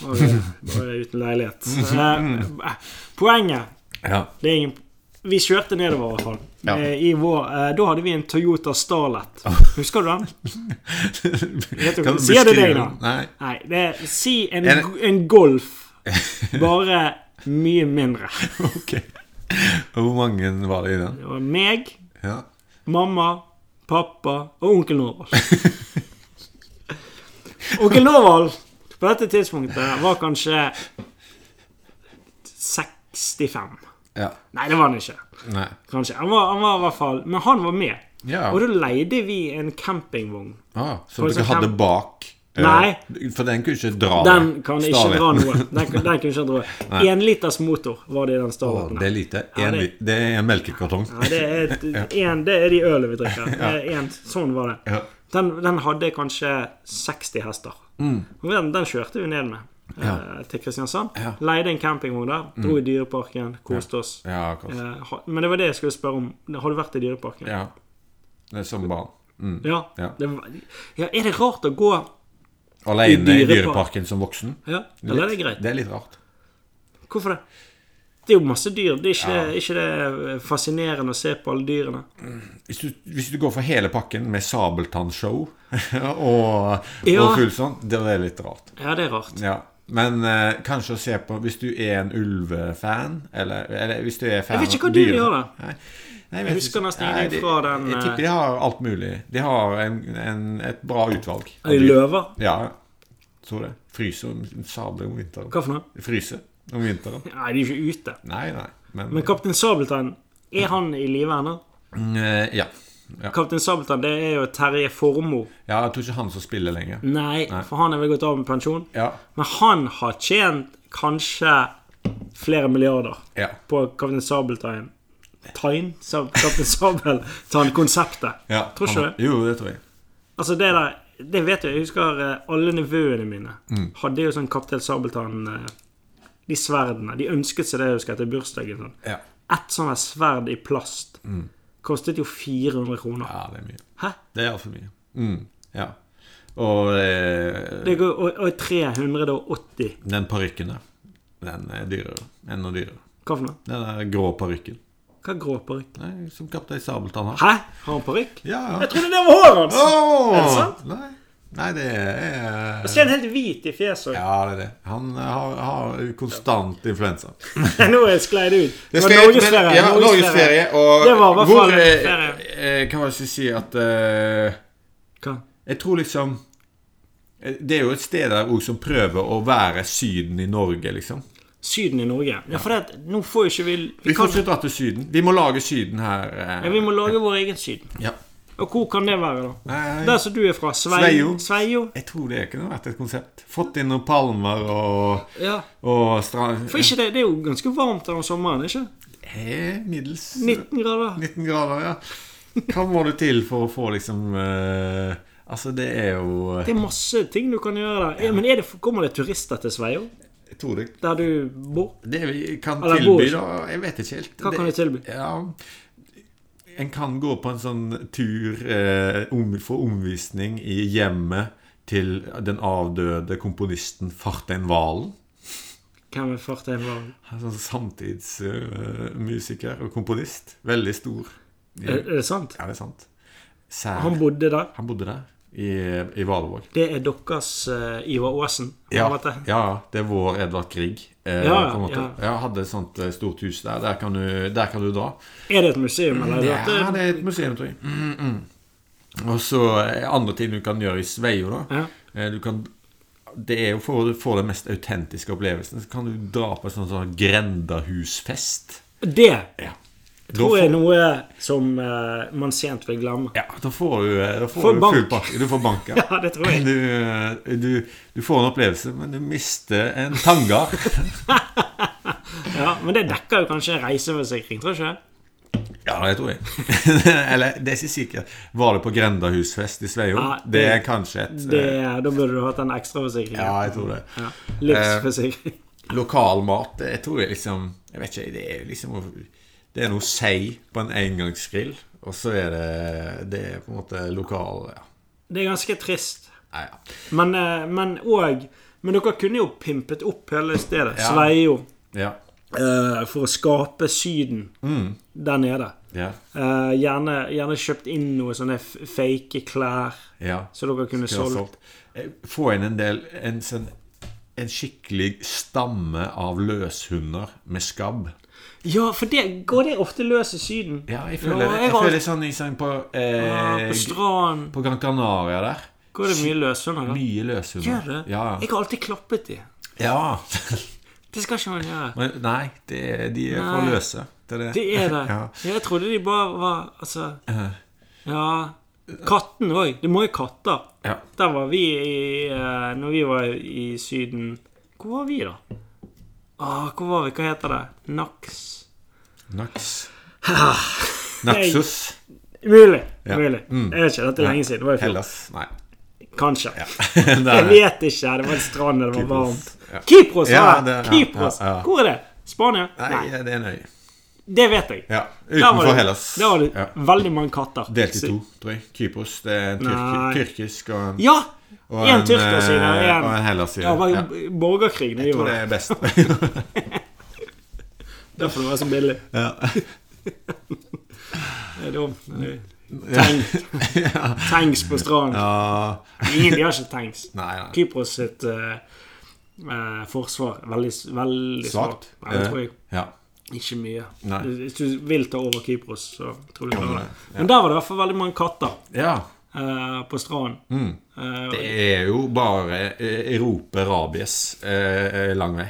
Speaker 1: Bare, bare uten leilighet. Eh, Poenget
Speaker 2: Ja.
Speaker 1: det er ingen... Vi kjørte nedover, i hvert fall.
Speaker 2: Ja. Ah.
Speaker 1: Eh, I vår, eh, da hadde vi en Toyota Starlet. Husker du den? du-
Speaker 2: Kan du
Speaker 1: sier det
Speaker 2: beskrive
Speaker 1: deg da?
Speaker 2: den? Nei.
Speaker 1: Nei, det er, si en,
Speaker 2: Er det-
Speaker 1: en Golf, bare mye mindre.
Speaker 2: Ok. Og Hvor mange var det i den?
Speaker 1: Det var meg,
Speaker 2: Ja.
Speaker 1: mamma, pappa og onkel Norvald. Onkel Norvald på dette tidspunktet var kanskje 65.
Speaker 2: ja.
Speaker 1: Nei, det var han ikke.
Speaker 2: Nei.
Speaker 1: Kanskje. Han var, han var i hvert fall Men han var med.
Speaker 2: Ja.
Speaker 1: Og da leide vi en campingvogn.
Speaker 2: Ah,
Speaker 1: For
Speaker 2: så dere
Speaker 1: eksempel-
Speaker 2: hadde bak eh,
Speaker 1: Nei.
Speaker 2: For den kunne ikke dra
Speaker 1: Den kan ikke
Speaker 2: Starlet.
Speaker 1: dra noe. Den, kan- den kunne ikke dra En liters motor var det i den
Speaker 2: Å,
Speaker 1: Starlaten.
Speaker 2: det er lite.
Speaker 1: Ja,
Speaker 2: En,
Speaker 1: det-
Speaker 2: li- det er en melkekartong.
Speaker 1: Ja, det, er et, en, det er de ølene vi drikker. Det er En, sånn var det.
Speaker 2: Ja.
Speaker 1: Den, den hadde kanskje 60 hester. Og Den, den kjørte vi ned med eh, til Kristiansand.
Speaker 2: Mm. Ja. Mm.
Speaker 1: Leide en campingvogn der. Dro i Dyreparken, koste oss.
Speaker 2: Ja, akkurat.
Speaker 1: Eh, ha- Men det var det jeg skulle spørre om. Har du vært i Dyreparken?
Speaker 2: Ja. Det er som barn. Mm.
Speaker 1: Ja.
Speaker 2: Ja.
Speaker 1: Det var, ja er det rart å gå
Speaker 2: Alene
Speaker 1: I
Speaker 2: i
Speaker 1: dyrepar-
Speaker 2: dyreparken som voksen.
Speaker 1: Ja, eller er det greit?
Speaker 2: Det er litt rart.
Speaker 1: Hvorfor det? Det er jo masse dyr. Det er ikke, ikke det fascinerende å se på alle dyrene?
Speaker 2: Hvis du, hvis du går for hele pakken med sabeltannshow og,
Speaker 1: Ja.
Speaker 2: og full sånn, det er litt rart.
Speaker 1: Ja, det er rart.
Speaker 2: Ja. Men eh, kanskje å se på Hvis du er en ulvefan, eller, eller hvis du er fan
Speaker 1: Jeg vet ikke hva
Speaker 2: av
Speaker 1: du
Speaker 2: dyre-
Speaker 1: gjør, da.
Speaker 2: Nei, nei,
Speaker 1: Jeg
Speaker 2: vet
Speaker 1: husker
Speaker 2: ikke.
Speaker 1: nesten
Speaker 2: Nei,
Speaker 1: ingenting
Speaker 2: de-
Speaker 1: fra den,
Speaker 2: Jeg tipper de har alt mulig. De har en, en, et bra utvalg. av
Speaker 1: Er de
Speaker 2: dyr.
Speaker 1: løver?
Speaker 2: Ja. Tror det. Fryser om sabler om vinteren.
Speaker 1: Hva for noe?
Speaker 2: Fryser om vinteren.
Speaker 1: Nei, de er ikke ute.
Speaker 2: Nei, nei. Men,
Speaker 1: Men Kaptein Sabeltann, er han i live ennå?
Speaker 2: Eh, ja. ja.
Speaker 1: Kaptein Sabeltann, det er jo Terje Formoe.
Speaker 2: Ja, jeg tror ikke han som spiller lenger.
Speaker 1: Nei, for han er vel gått av med pensjon.
Speaker 2: Ja.
Speaker 1: Men han har tjent kanskje flere milliarder
Speaker 2: Ja.
Speaker 1: på Kaptein Sabeltann. Tain? Sab Kaptein Sabeltann-konseptet.
Speaker 2: ja
Speaker 1: Tror ikke
Speaker 2: han-
Speaker 1: det.
Speaker 2: Jo, det tror jeg.
Speaker 1: Altså, det der Det vet jeg. Jeg husker eh, alle nevøene mine hadde jo sånn Kaptein Sabeltann eh, De sverdene. De ønsket seg det, jeg husker, etter bursdagen. Sånn.
Speaker 2: Ja.
Speaker 1: Ett sånt her sverd i plast kostet jo 400 kroner.
Speaker 2: Mm. ja, det er mye.
Speaker 1: Hæ?
Speaker 2: Det er altfor mye. Mm. Ja. Og eh,
Speaker 1: Det går, og, og 380
Speaker 2: den parykken der, den er dyrere. Enda dyrere.
Speaker 1: Hva for noe?
Speaker 2: Den der grå parykken.
Speaker 1: Hva grå parykk?
Speaker 2: Nei, Som Kaptein Sabeltann har.
Speaker 1: Hæ? Har han parykk?
Speaker 2: Ja, ja.
Speaker 1: Jeg trodde det var håret hans!
Speaker 2: Åh!
Speaker 1: Er det sant?
Speaker 2: Nei. Nei, det er
Speaker 1: Og så er han helt hvit i fjeset.
Speaker 2: Ja, det er det. Han har, har konstant influensa.
Speaker 1: Nå er jeg skleid ut.
Speaker 2: Det
Speaker 1: Det var
Speaker 2: skal jeg- men-
Speaker 1: norgesferie.
Speaker 2: Ja, Norgesferie. Og
Speaker 1: Det var i hvert
Speaker 2: hvor,
Speaker 1: fall
Speaker 2: eh,
Speaker 1: ferie.
Speaker 2: eh, Kan man ikke si at eh,
Speaker 1: Hva?
Speaker 2: Jeg tror liksom eh, Det er jo et sted der også som prøver å være Syden i Norge, liksom.
Speaker 1: Syden i Norge. Ja, for det, at nå får jo ikke vi
Speaker 2: Vi
Speaker 1: vi,
Speaker 2: får
Speaker 1: kan,
Speaker 2: ikke dra til Syden. Vi må lage Syden her. eh.
Speaker 1: ja, vi må lage vår egen Syden.
Speaker 2: Ja.
Speaker 1: Og hvor kan det være, da?
Speaker 2: Nei,
Speaker 1: Der som du er fra? Sveio?
Speaker 2: Sveio.
Speaker 1: Sveio?
Speaker 2: Jeg tror det kunne vært et konsept. Fått inn noen palmer og,
Speaker 1: Ja.
Speaker 2: og strand...
Speaker 1: For ikke det, det er jo ganske varmt der om sommeren, ikke?
Speaker 2: Eh, Middels
Speaker 1: 19 grader.
Speaker 2: 19 grader, ja. Hva må du til for å få liksom eh, Altså, det er jo
Speaker 1: Det er masse ting du kan gjøre der. Ja, men er det, kommer det turister til Sveio?
Speaker 2: Jeg tror det
Speaker 1: Der du bor?
Speaker 2: Det vi kan
Speaker 1: Eller
Speaker 2: tilby,
Speaker 1: bor-
Speaker 2: da Jeg vet ikke helt.
Speaker 1: Hva kan
Speaker 2: Det-
Speaker 1: du tilby?
Speaker 2: Ja, en kan gå på en sånn tur, eh, om, få omvisning i hjemmet til den avdøde komponisten Fartein Valen.
Speaker 1: Hvem er fartøyen vår?
Speaker 2: Han er Sånn samtidsmusiker eh, og komponist. Veldig stor. I,
Speaker 1: Er, er det sant?
Speaker 2: ja, det er sant. Sær.
Speaker 1: Han
Speaker 2: Han,
Speaker 1: bodde der.
Speaker 2: bodde der, i, i Valevåg.
Speaker 1: Det er deres eh, Ivar Aasen. på en
Speaker 2: Ja,
Speaker 1: måte.
Speaker 2: ja, det er vår Edvard Grieg. Eh,
Speaker 1: Ja,
Speaker 2: på en måte.
Speaker 1: ja.
Speaker 2: Jeg hadde et sånt eh, stort hus der. Der kan du, der kan du dra.
Speaker 1: Er det et museum, eller?
Speaker 2: Ja,
Speaker 1: er
Speaker 2: det
Speaker 1: det-
Speaker 2: er et museum, tror jeg. Mm, mm. Og så eh, andre ting du kan gjøre i Sveio, da.
Speaker 1: Ja.
Speaker 2: Eh, Du kan, det er jo for å få den mest autentiske opplevelsen, så kan du dra på en sånn, sånn grendahusfest.
Speaker 1: eh, det
Speaker 2: Ja. Da
Speaker 1: tror jeg
Speaker 2: får,
Speaker 1: er noe som eh, man sent vil glemme.
Speaker 2: ja, da får du, eh, da får
Speaker 1: Får
Speaker 2: du
Speaker 1: bank.
Speaker 2: full pakke. Du får bank, ja.
Speaker 1: Ja, det tror jeg.
Speaker 2: Du, eh, du, du får en opplevelse, men du mister en tangar.
Speaker 1: Ja, men det dekker jo kanskje en reiseforsikring, tror du ikke?
Speaker 2: Ja, det tror jeg. Eller, det er ikke sikkert. Var det på grendahusfest i Sveio?
Speaker 1: Ja,
Speaker 2: det, er
Speaker 1: det-
Speaker 2: kanskje et
Speaker 1: Det,
Speaker 2: eh,
Speaker 1: da burde du hatt en ekstraforsikring.
Speaker 2: Ja, Eh. jeg tror det.
Speaker 1: Ja, Livsforsikring.
Speaker 2: Lokal mat, det- jeg tror jeg liksom Jeg vet ikke, det er jo liksom å- Det er noe sei på en engangsgrill, og så er det Det er på en måte lokal Ja.
Speaker 1: Det er ganske trist.
Speaker 2: Nei, ja.
Speaker 1: Men, eh, men og Men dere kunne jo pimpet opp hele stedet.
Speaker 2: Ja.
Speaker 1: Sveio.
Speaker 2: ja.
Speaker 1: eh, for å skape Syden
Speaker 2: Mm.
Speaker 1: der nede.
Speaker 2: Ja.
Speaker 1: Eh, gjerne, gjerne kjøpt inn noe sånne f- fake klær,
Speaker 2: ja.
Speaker 1: så dere kunne
Speaker 2: Skulle ha
Speaker 1: solgt.
Speaker 2: solgt. Eh, Få inn en del En, sånn, en skikkelig stamme av løshunder med skabb.
Speaker 1: Ja, for det går det ofte løs i Syden.
Speaker 2: Ja, jeg føler,
Speaker 1: Ja, jeg
Speaker 2: jeg
Speaker 1: har-
Speaker 2: føler sånn i sånn på
Speaker 1: Ja,
Speaker 2: eh,
Speaker 1: på stranden
Speaker 2: På Gran Canaria der.
Speaker 1: går det mye løshunder. da.
Speaker 2: Mye løshunder.
Speaker 1: Gjør det?
Speaker 2: Ja.
Speaker 1: Jeg har alltid klappet de.
Speaker 2: ja.
Speaker 1: Det skal ikke man gjøre.
Speaker 2: Men nei, det, de er for
Speaker 1: Nei.
Speaker 2: løse. Det er det.
Speaker 1: Det er det.
Speaker 2: Ja.
Speaker 1: Jeg trodde de bare var Altså Ja. Katten òg. Det må jo katter.
Speaker 2: Ja.
Speaker 1: Der var vi i eh, Når vi var i Syden Hvor var vi, da? Ah, hvor var vi? Hva heter det? Naks
Speaker 2: Naks. Naxos.
Speaker 1: Mulig.
Speaker 2: Ja. Mm.
Speaker 1: Mulig. Jeg vet ikke. Dette er lenge siden. Det var i fjor.
Speaker 2: Hellas. Nei.
Speaker 1: Kanskje.
Speaker 2: Det
Speaker 1: Jeg
Speaker 2: er det.
Speaker 1: vet ikke. Det var en strand, det var
Speaker 2: Kypros.
Speaker 1: varmt.
Speaker 2: Ja.
Speaker 1: Kypros,
Speaker 2: Ja,
Speaker 1: var det.
Speaker 2: det- ja,
Speaker 1: Kypros.
Speaker 2: ja, ja.
Speaker 1: Hvor er det? Spania?
Speaker 2: Nei,
Speaker 1: Nei,
Speaker 2: det er nøye.
Speaker 1: det vet jeg.
Speaker 2: Ja.
Speaker 1: Der var
Speaker 2: Utenfor
Speaker 1: det-
Speaker 2: Hellas.
Speaker 1: Der var det
Speaker 2: Ja.
Speaker 1: veldig mange katter.
Speaker 2: Delt i
Speaker 1: Så-
Speaker 2: to, tror jeg. Kypros. Det er en
Speaker 1: Nei.
Speaker 2: tyrk, tyrkisk og en,
Speaker 1: Ja!
Speaker 2: og
Speaker 1: En tyrker
Speaker 2: eh,
Speaker 1: side og en
Speaker 2: og en
Speaker 1: Det
Speaker 2: Hellas-side.
Speaker 1: var
Speaker 2: Ja,
Speaker 1: borgerkrig da vi
Speaker 2: Jeg tror
Speaker 1: var der.
Speaker 2: det er best.
Speaker 1: Derfor det var så billig.
Speaker 2: ja.
Speaker 1: Det er dumt. Det er
Speaker 2: Ja.
Speaker 1: Tanks på stranden.
Speaker 2: Ja.
Speaker 1: Ingen de har ikke tanks.
Speaker 2: Nei, nei.
Speaker 1: Kypros sitt eh, eh, forsvar veldig, veldig svakt.
Speaker 2: Svakt.
Speaker 1: Nei, det tror jeg
Speaker 2: Ja.
Speaker 1: ikke mye.
Speaker 2: Nei.
Speaker 1: Hvis du vil ta over Kypros, så tror du
Speaker 2: Ja,
Speaker 1: klarer
Speaker 2: nei,
Speaker 1: det. Men der var det i hvert fall veldig mange katter
Speaker 2: ja. Mm.
Speaker 1: eh, på stranden. Eh,
Speaker 2: Det er jo bare eh, Europa rabies eh, eh, lang vei.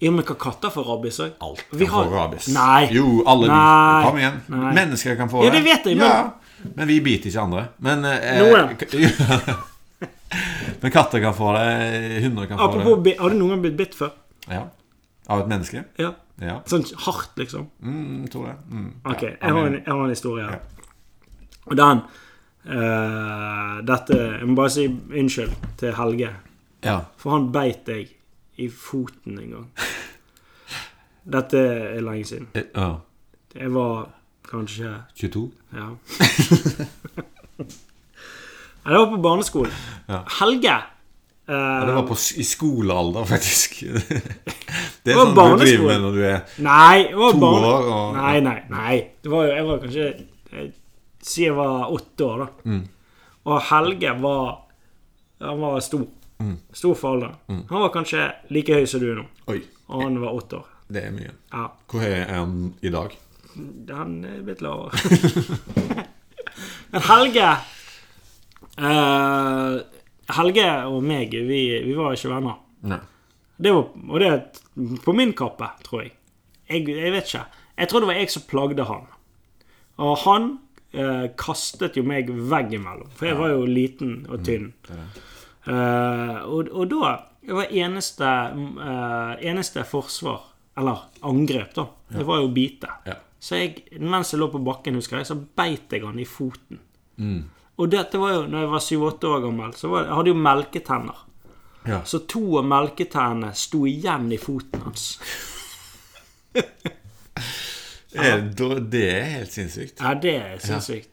Speaker 1: ja, men hva katter får rabies òg?
Speaker 2: Alt
Speaker 1: Vi
Speaker 2: kan
Speaker 1: har-
Speaker 2: få rabies.
Speaker 1: Nei.
Speaker 2: Jo, alle vi-
Speaker 1: Nei.
Speaker 2: Kom igjen.
Speaker 1: Nei.
Speaker 2: Mennesker kan få
Speaker 1: Ja, det vet jeg, men-
Speaker 2: Ja, men vi biter ikke andre. Men eh,
Speaker 1: Noen.
Speaker 2: k- Men katter kan få det. Hunder kan
Speaker 1: Apropos,
Speaker 2: få
Speaker 1: bi- har du noen gang blitt bitt før?
Speaker 2: det. Ja. Av et menneske?
Speaker 1: Ja.
Speaker 2: Ja.
Speaker 1: Sånn hardt, liksom?
Speaker 2: Mm, tror det. Mm.
Speaker 1: Ok,
Speaker 2: Ja.
Speaker 1: jeg har en, jeg har en historie her. Og den eh, Dette Jeg må bare si unnskyld til Helge.
Speaker 2: Ja.
Speaker 1: For han beit deg i foten en gang. Dette er lenge siden.
Speaker 2: Eh, ja.
Speaker 1: Jeg var kanskje
Speaker 2: 22?
Speaker 1: Ja. Nei, det var på barneskolen.
Speaker 2: Ja.
Speaker 1: Helge eh,
Speaker 2: Ja, det var på, s- i skolealder, faktisk.
Speaker 1: Det
Speaker 2: Det er
Speaker 1: var
Speaker 2: sånn du
Speaker 1: barneskole.
Speaker 2: driver med når du er
Speaker 1: Nei, det var
Speaker 2: to
Speaker 1: barne...
Speaker 2: år og
Speaker 1: Nei, nei, nei. Det var jo, jeg var kanskje
Speaker 2: Mm.
Speaker 1: eh, Si jeg var åtte år, da. Og Helge var Han var stor.
Speaker 2: Mm.
Speaker 1: Stor for alderen. Han var kanskje like høy som du nå,
Speaker 2: Oi,
Speaker 1: og han var åtte år.
Speaker 2: det er mye.
Speaker 1: Ja,
Speaker 2: Hvor høy er han i dag?
Speaker 1: han er blitt lavere. Men Helge eh, Helge og meg, vi, vi var ikke venner.
Speaker 2: Nei.
Speaker 1: Det var, og det er på min kappe, tror jeg. jeg. Jeg vet ikke. Jeg tror det var jeg som plagde han. Og han eh, kastet jo meg veggimellom, for jeg var jo liten
Speaker 2: Mm,
Speaker 1: og tynn. Eh, og, og da var eneste, eh, eneste forsvar, eller angrep, da, det var jo å bite.
Speaker 2: Ja.
Speaker 1: Så jeg, mens jeg lå på bakken, husker jeg, så beit jeg han i foten.
Speaker 2: Mm.
Speaker 1: Og dette var jo, når jeg var 7-8 år gammel, så var, jeg hadde jo melketenner.
Speaker 2: Ja.
Speaker 1: Så to av melketærne sto igjen i foten hans.
Speaker 2: Eh, da, det er helt sinnssykt.
Speaker 1: Ja, det er sinnssykt.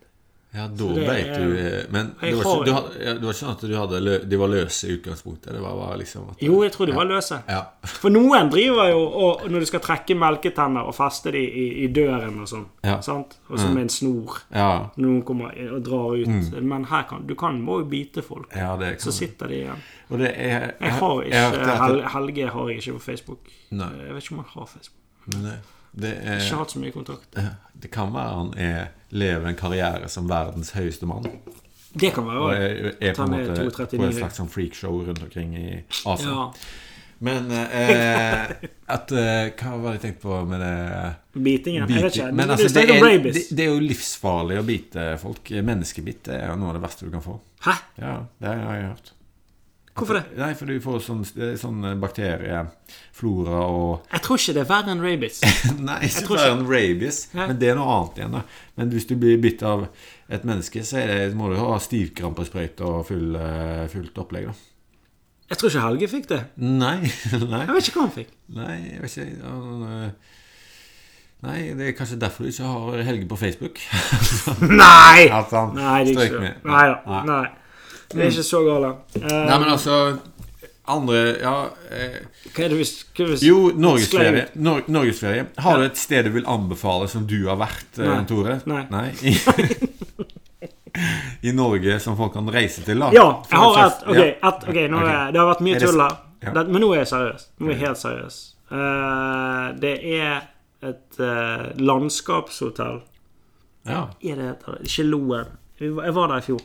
Speaker 2: Ja, da
Speaker 1: det
Speaker 2: veit
Speaker 1: er-
Speaker 2: du eh, Men det
Speaker 1: Jeg
Speaker 2: var,
Speaker 1: har-
Speaker 2: ikke, du hadde, ja, det var ikke sånn at du hadde lø, de var løse i utgangspunktet? Det var bare liksom at
Speaker 1: Jo, jeg tror de var løse.
Speaker 2: Ja.
Speaker 1: For noen driver jo og når du skal trekke melketenner og feste de i, i døren og sånn,
Speaker 2: Ja. Mm.
Speaker 1: sant? og så med en snor
Speaker 2: Ja,
Speaker 1: når noen kommer og drar ut. Men her kan du kan må jo bite folk.
Speaker 2: Mm. ja det kan
Speaker 1: Så sitter de igjen.
Speaker 2: Og det er Jeg,
Speaker 1: Jeg har
Speaker 2: jeg
Speaker 1: ikke
Speaker 2: hørte at det-
Speaker 1: Hel Helge har jeg ikke på Facebook.
Speaker 2: Nei.
Speaker 1: Jeg vet ikke om han har Facebook.
Speaker 2: Men det, det,
Speaker 1: Ikke
Speaker 2: er,
Speaker 1: hatt så mye kontakt.
Speaker 2: det kan være han er, lever en karriere som verdens høyeste mann.
Speaker 1: Det kan være
Speaker 2: Og
Speaker 1: òg.
Speaker 2: er, er på en
Speaker 1: Han er
Speaker 2: måte
Speaker 1: 2,39
Speaker 2: på et
Speaker 1: høy.
Speaker 2: slags sånn freakshow rundt omkring i Asia.
Speaker 1: Ja.
Speaker 2: Men eh, at, eh, Hva var det jeg tenkte på eh, med det
Speaker 1: Bitingen. Jeg vet
Speaker 2: Bite-
Speaker 1: ikke.
Speaker 2: Men
Speaker 1: du
Speaker 2: altså, det,
Speaker 1: snakker om
Speaker 2: er, det,
Speaker 1: rabies.
Speaker 2: det er jo livsfarlig å bite folk. Menneskebitt er jo noe av det verste du kan få.
Speaker 1: Hæ?
Speaker 2: Ja, det har jeg hørt.
Speaker 1: Hvorfor det?
Speaker 2: Nei, for du får sånn, det er sånn bakterieflora og
Speaker 1: Jeg tror ikke det er verre enn rabies.
Speaker 2: Nei, ikke
Speaker 1: tror
Speaker 2: bare en rabies,
Speaker 1: Nei.
Speaker 2: men det er noe annet igjen. da Men hvis du blir bitt av et menneske, så er det, må du ha stivkrampesprøyte og full, eh, fullt opplegg, da.
Speaker 1: Jeg tror ikke Helge fikk det.
Speaker 2: Nei, nei,
Speaker 1: Jeg vet ikke hva han fikk.
Speaker 2: nei, jeg vet ikke han, eh, Nei, det er kanskje derfor du ikke har Helge på Facebook.
Speaker 1: Nei!
Speaker 2: At han
Speaker 1: Nei, det er
Speaker 2: strøk
Speaker 1: ikke det.
Speaker 2: med.
Speaker 1: Nei da. Nei. Det er ikke så gale. Eh,
Speaker 2: Nei, men altså Andre Ja. Eh,
Speaker 1: hva er det vi, hva er det vi
Speaker 2: jo, norgesferie.
Speaker 1: Sklei
Speaker 2: Nor norgesferie. Har du et sted du vil anbefale som du har vært, eh,
Speaker 1: Nei.
Speaker 2: Tore?
Speaker 1: Nei.
Speaker 2: I, I Norge som folk kan reise til, da?
Speaker 1: Ja, jeg
Speaker 2: For
Speaker 1: har
Speaker 2: et
Speaker 1: et.
Speaker 2: slags-
Speaker 1: Ok, et, ok, nå er, det har vært
Speaker 2: Er
Speaker 1: mye
Speaker 2: det-
Speaker 1: tull her.
Speaker 2: ja.
Speaker 1: Det- Men nå er jeg seriøs. Nå er jeg helt seriøs. Eh, det er et eh, landskapshotell.
Speaker 2: Ja. ja.
Speaker 1: Er det heter det? Ikke Loen. Vi var- Jeg var der i fjor.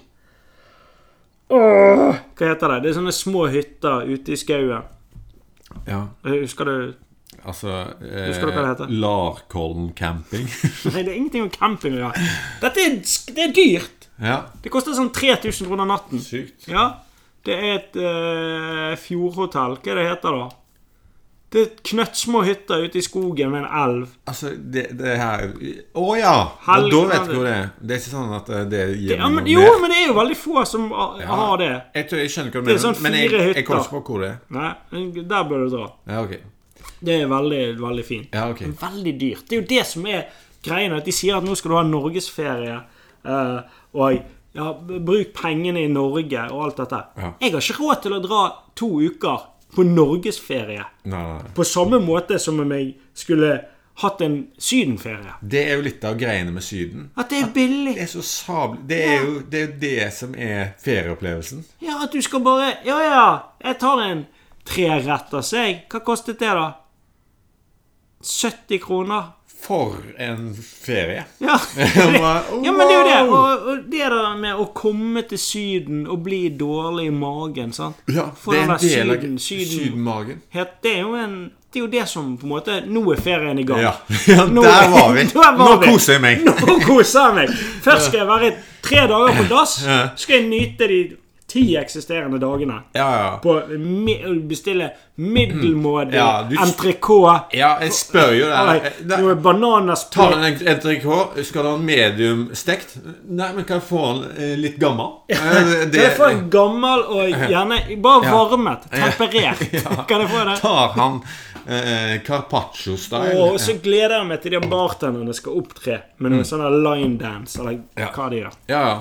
Speaker 1: Åh, hva heter det? Det er sånne små hytter ute i skauen.
Speaker 2: ja.
Speaker 1: Husker du
Speaker 2: Altså
Speaker 1: Husker du hva det
Speaker 2: eh,
Speaker 1: heter?
Speaker 2: Larkollen camping.
Speaker 1: Nei, det er ingenting om camping å gjøre. Dette er, det er dyrt.
Speaker 2: ja.
Speaker 1: Det koster sånn 3000 kroner natten.
Speaker 2: Sykt.
Speaker 1: Ja, Det er et eh, fjordhotell. Hva er det heter da? Det er knøttsmå hytter ute i skogen med en elv.
Speaker 2: Altså, det, det her Å ja!
Speaker 1: Helge-
Speaker 2: da vet du hvor det er. Det er ikke sånn at eh, det gir
Speaker 1: Det, ja, men,
Speaker 2: noe
Speaker 1: jo,
Speaker 2: mer.
Speaker 1: men det er jo veldig få som har
Speaker 2: Ja.
Speaker 1: har det.
Speaker 2: Jeg, tror, jeg skjønner hva du
Speaker 1: Det er
Speaker 2: mener,
Speaker 1: sånn
Speaker 2: men jeg,
Speaker 1: fire
Speaker 2: jeg kommer
Speaker 1: hytter.
Speaker 2: ikke på hvor det er.
Speaker 1: Nei, men Der bør du dra.
Speaker 2: Ja, ok.
Speaker 1: Det er veldig, veldig fint.
Speaker 2: Ja, ok.
Speaker 1: Men Veldig dyrt. Det er jo det som er greien. At de sier at nå skal du ha norgesferie. eh, og ja, b- bruk pengene i Norge og alt dette.
Speaker 2: Ja.
Speaker 1: Jeg har ikke råd til å dra to uker på norgesferie.
Speaker 2: Nei, nei, nei.
Speaker 1: På samme måte som om jeg skulle hatt en sydenferie.
Speaker 2: Det er jo litt av greiene med Syden.
Speaker 1: At det er billig.
Speaker 2: Det er så sabl... Det er jo det, er jo det som er ferieopplevelsen.
Speaker 1: Ja, at du skal bare Ja, ja, jeg tar en treretters, jeg. Hva kostet det, da? 70 kroner.
Speaker 2: For en ferie!
Speaker 1: Ja.
Speaker 2: Wow.
Speaker 1: Ja, men det er jo det. Og, og det der med å komme til Syden og bli dårlig i magen, sant.
Speaker 2: Ja,
Speaker 1: For
Speaker 2: det er
Speaker 1: den
Speaker 2: en
Speaker 1: der
Speaker 2: del av
Speaker 1: syden- syden-
Speaker 2: sydenmagen.
Speaker 1: Het, det er jo en Det er jo det som på en måte Nå er ferien i gang.
Speaker 2: Ja. ja,
Speaker 1: Nå-
Speaker 2: der var vi!
Speaker 1: Der var
Speaker 2: Nå
Speaker 1: vi.
Speaker 2: koser jeg meg!
Speaker 1: Nå koser jeg meg. Først skal jeg være tre dager på dass.
Speaker 2: Ja.
Speaker 1: Skal jeg nyte de ti eksisterende dagene.
Speaker 2: Ja, ja.
Speaker 1: På mi- å bestille middelmådig
Speaker 2: Ja, du-
Speaker 1: entrecôte.
Speaker 2: ja jeg spør jo
Speaker 1: eller
Speaker 2: deg. Da-
Speaker 1: Noe
Speaker 2: Tar du
Speaker 1: bananasplott.
Speaker 2: en entrecôte, skal du ha en medium stekt? Nei, men kan jeg få den eh, litt gammel? Eh,
Speaker 1: Kan jeg få en gammel og gjerne bare varmet, temperert? Kan jeg få det?
Speaker 2: Tar han eh, carpaccio-style?
Speaker 1: Og så gleder jeg meg til de bartenderne skal opptre med noen sånne line dance, eller
Speaker 2: Mm. Ja.
Speaker 1: hva de gjør.
Speaker 2: Ja, ja.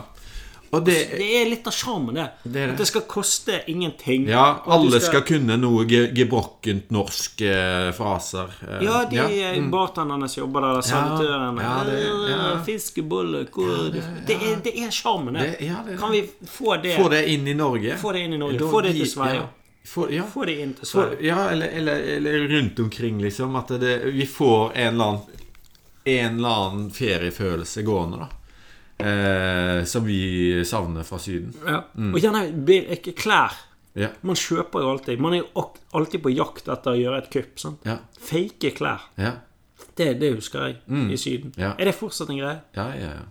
Speaker 2: Og det-
Speaker 1: Altså, det er litt av sjarmen, det.
Speaker 2: er det.
Speaker 1: At det skal koste ingenting.
Speaker 2: Ja,
Speaker 1: At du
Speaker 2: alle skal kunne noe ge gebrokkent norsk eh, fraser. eh,
Speaker 1: Ja, de ja. bartenderne som jobber der, eller servitørene.
Speaker 2: ja, det- ja.
Speaker 1: Eh, Fiskebolle hvor det, er, det er sjarmen, det.
Speaker 2: Det- ja, det er det.
Speaker 1: Kan vi få det,
Speaker 2: Få det inn i Norge.
Speaker 1: få det inn i Norge?
Speaker 2: Da-
Speaker 1: Få det
Speaker 2: de-
Speaker 1: til Sverige?
Speaker 2: ja. Få, ja.
Speaker 1: Få det inn til
Speaker 2: Få-
Speaker 1: Sverige?
Speaker 2: ja eller, eller, eller rundt omkring, liksom. At det, vi får en eller annen En eller annen feriefølelse gående, da. Eh, som vi savner fra Syden.
Speaker 1: Ja.
Speaker 2: Mm.
Speaker 1: Og gjerne bil- ikke klær.
Speaker 2: Ja.
Speaker 1: Man kjøper jo alltid. Man er jo ak- alltid på jakt etter å gjøre et kupp. Sant?
Speaker 2: Ja.
Speaker 1: Fake klær.
Speaker 2: Ja.
Speaker 1: Det, det husker jeg
Speaker 2: Mm.
Speaker 1: i Syden.
Speaker 2: Ja.
Speaker 1: Er det fortsatt en greie?
Speaker 2: Ja, ja, ja.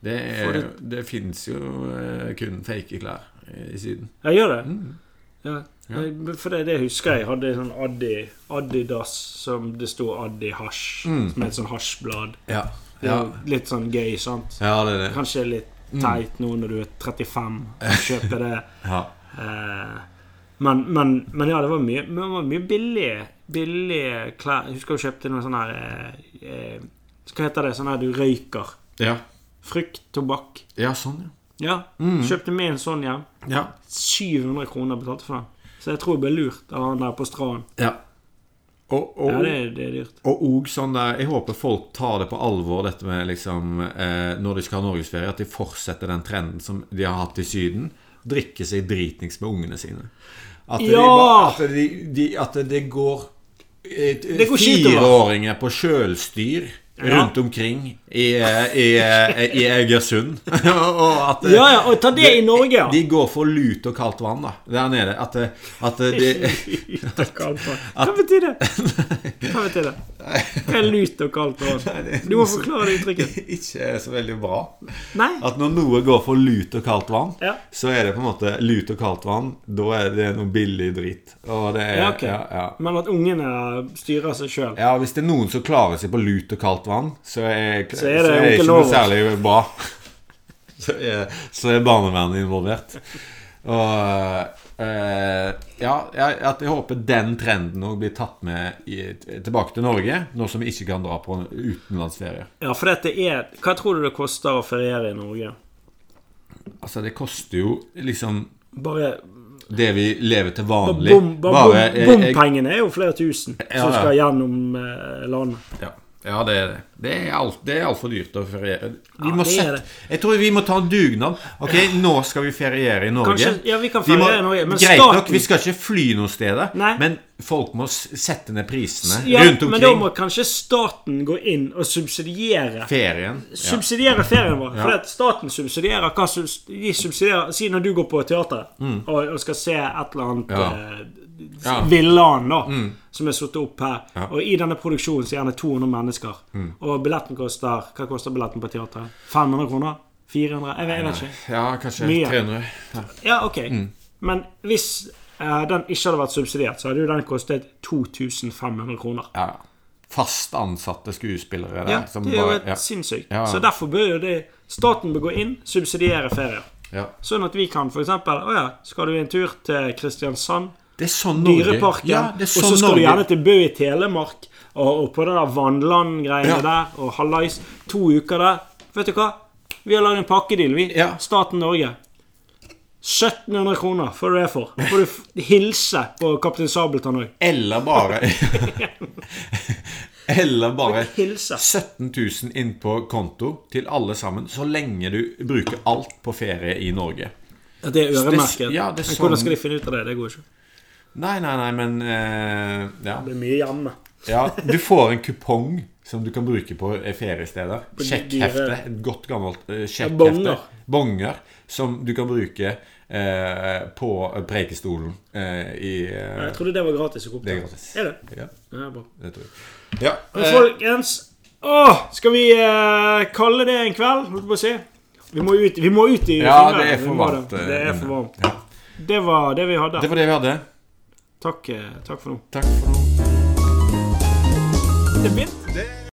Speaker 2: Det,
Speaker 1: Får
Speaker 2: er,
Speaker 1: du-
Speaker 2: det fins jo eh, kun fake klær i Syden.
Speaker 1: Ja, gjør det? Ja. Nei, For det, det husker jeg. Jeg hadde sånn Addi, Adidas som det sto Addi Hasj, med et sånn hasjblad.
Speaker 2: Ja.
Speaker 1: Det er
Speaker 2: Ja,
Speaker 1: jo Litt sånn gøy, sant?
Speaker 2: ja det er det.
Speaker 1: Kanskje litt teit nå når du er 35 og kjøper det.
Speaker 2: Ja.
Speaker 1: Eh, men, men, men ja, det var mye, men det var mye billige, billige klær. Jeg husker jeg kjøpte noe sånn her eh, eh, Hva heter det? Sånn her du røyker.
Speaker 2: Ja.
Speaker 1: Frukt, tobakk.
Speaker 2: ja, sånn,
Speaker 1: Ja. Kjøpte meg en sånn hjem.
Speaker 2: ja. Ja.
Speaker 1: 700 kroner betalte for den. Så jeg tror jeg ble lurt av han der på stranden.
Speaker 2: ja. Og, og,
Speaker 1: Ja, det, er- det er dyrt.
Speaker 2: Og òg sånn der Jeg håper folk tar det på alvor, dette med liksom eh, Når de skal ha norgesferie, at de fortsetter den trenden som de har hatt i Syden. Drikke seg dritings med ungene sine. At, de,
Speaker 1: Ja!
Speaker 2: ba- at, de, de, at det går, eh,
Speaker 1: går skit, da.
Speaker 2: Fireåringer på sjølstyr rundt omkring i, eh, i, eh, i Egersund. og at eh,
Speaker 1: Ja, ja, og ta det i Norge, ja!
Speaker 2: de går for lut og kaldt vann da der nede. At, eh, at eh, de
Speaker 1: Hva betyr det? Hva betyr det? Hva er lut og kaldt vann? Du må forklare det uttrykket.
Speaker 2: Ikke er så veldig bra.
Speaker 1: Nei?
Speaker 2: At når noe går for lut og kaldt vann,
Speaker 1: Ja.
Speaker 2: så er det på en måte lut og kaldt vann. Da er det noe billig drit. Og det er,
Speaker 1: Ja, ok.
Speaker 2: ja, ja.
Speaker 1: Men at ungene styrer seg sjøl.
Speaker 2: ja, hvis det er noen som klarer seg på lut og kaldt vann, så er, så
Speaker 1: er det
Speaker 2: er det
Speaker 1: onkel
Speaker 2: ikke noe
Speaker 1: Lovers.
Speaker 2: særlig bra. Så er, så er barnevernet involvert. Og eh, ja, jeg, at jeg håper den trenden òg blir tatt med i, tilbake til Norge, nå som vi ikke kan dra på en utenlandsferie.
Speaker 1: Ja, for dette er Hva tror du det koster å feriere i Norge?
Speaker 2: Altså, det koster jo liksom
Speaker 1: Bare
Speaker 2: det vi lever til vanlig.
Speaker 1: bom, bare
Speaker 2: Bare, eh,
Speaker 1: bom, Bompengene er jo flere tusen
Speaker 2: Ja,
Speaker 1: som
Speaker 2: ja.
Speaker 1: skal gjennom eh, landet.
Speaker 2: Ja, ja det er det. Det er, alt, det er altfor dyrt å feriere. Vi
Speaker 1: Ja,
Speaker 2: må
Speaker 1: det er
Speaker 2: sette,
Speaker 1: det.
Speaker 2: jeg tror vi må ta en dugnad. Ok, nå skal vi feriere i Norge.
Speaker 1: Kanskje- ja, vi kan
Speaker 2: må-
Speaker 1: feriere i Norge, men
Speaker 2: greit
Speaker 1: staten-
Speaker 2: nok, vi skal ikke fly noen steder,
Speaker 1: Nei.
Speaker 2: men folk må s- sette ned prisene
Speaker 1: Ja,
Speaker 2: rundt
Speaker 1: men da
Speaker 2: omkring.
Speaker 1: må kanskje staten gå inn og subsidiere
Speaker 2: Ferien. Ja.
Speaker 1: Subsidiere ferien vår.
Speaker 2: Ja.
Speaker 1: Fordi at staten subsidierer hva subs de subsidierer Si når du går på teater og, og skal se et eller annet
Speaker 2: Mm. Ja.
Speaker 1: eh, s-
Speaker 2: Ja. Mm.
Speaker 1: Villan, da, som er satt opp her.
Speaker 2: Ja. Mm.
Speaker 1: Og i denne produksjonen så er det 200 mennesker. Og billetten koster Hva koster billetten på teateret? 500 kroner? 400? Jeg vet, jeg vet ikke.
Speaker 2: ja, kanskje
Speaker 1: Mye.
Speaker 2: 300. Ja.
Speaker 1: Ja, ok.
Speaker 2: Mm.
Speaker 1: Men hvis eh, den ikke hadde vært subsidiert, så hadde jo den kostet 2500 kroner.
Speaker 2: Ja. Fast ansatte skuespillere der.
Speaker 1: Ja,
Speaker 2: som
Speaker 1: det er jo
Speaker 2: bare-
Speaker 1: helt sinnssykt.
Speaker 2: Ja.
Speaker 1: Så derfor bør jo det staten bør gå inn, subsidiere ferier.
Speaker 2: ja. ja.
Speaker 1: Sånn at vi kan f.eks. Å ja, skal du en tur til Kristiansand?
Speaker 2: Det er sånn Norge
Speaker 1: Dyreparken.
Speaker 2: Ja, det er
Speaker 1: og
Speaker 2: sånn
Speaker 1: så skal
Speaker 2: Norge.
Speaker 1: du gjerne til Bø i Telemark, og, og på det der Vannland-greiene
Speaker 2: Ja.
Speaker 1: der, og hallais. To uker der. Vet du hva? Vi har lagd en pakkedeal, vi.
Speaker 2: Ja.
Speaker 1: Staten Norge. 1700 kroner får du det for. Da får du f- hilse på Kaptein Sabeltann òg.
Speaker 2: Eller bare Eller bare
Speaker 1: Hilse.
Speaker 2: 17 000 inn på konto til alle sammen, så lenge du bruker alt på ferie i Norge.
Speaker 1: Ja, Det er øremerket.
Speaker 2: Det- ja, det er
Speaker 1: Men Hvordan
Speaker 2: sånn-
Speaker 1: skal de finne ut av det? Det går ikke.
Speaker 2: Nei, nei, nei, men eh, ja.
Speaker 1: Det blir mye hjemme.
Speaker 2: ja. Du får en kupong som du kan bruke på eh, feriesteder.
Speaker 1: På de
Speaker 2: Sjekkhefte.
Speaker 1: dyre-
Speaker 2: Et godt gammelt eh, sjekkhefte.
Speaker 1: bonger.
Speaker 2: Bonger. Som du kan bruke eh, på Preikestolen eh, i eh,
Speaker 1: Jeg trodde det var gratis å kjøpe.
Speaker 2: Det er gratis.
Speaker 1: Er det?
Speaker 2: Ja,
Speaker 1: Ja, bra.
Speaker 2: det tror jeg. Ja,
Speaker 1: Men
Speaker 2: eh,
Speaker 1: folkens Åh, skal vi eh, kalle det en kveld? Holdt på å si. Vi må ut, vi må ut i
Speaker 2: Ja,
Speaker 1: fingrene.
Speaker 2: det er
Speaker 1: Vi
Speaker 2: for
Speaker 1: må
Speaker 2: varmt,
Speaker 1: Det,
Speaker 2: eh,
Speaker 1: det er
Speaker 2: inne.
Speaker 1: for varmt.
Speaker 2: Ja.
Speaker 1: Det var det vi hadde.
Speaker 2: det var det vi hadde.
Speaker 1: Takk, eh, takk for nå.
Speaker 2: Takk for nå.
Speaker 1: Det er fint.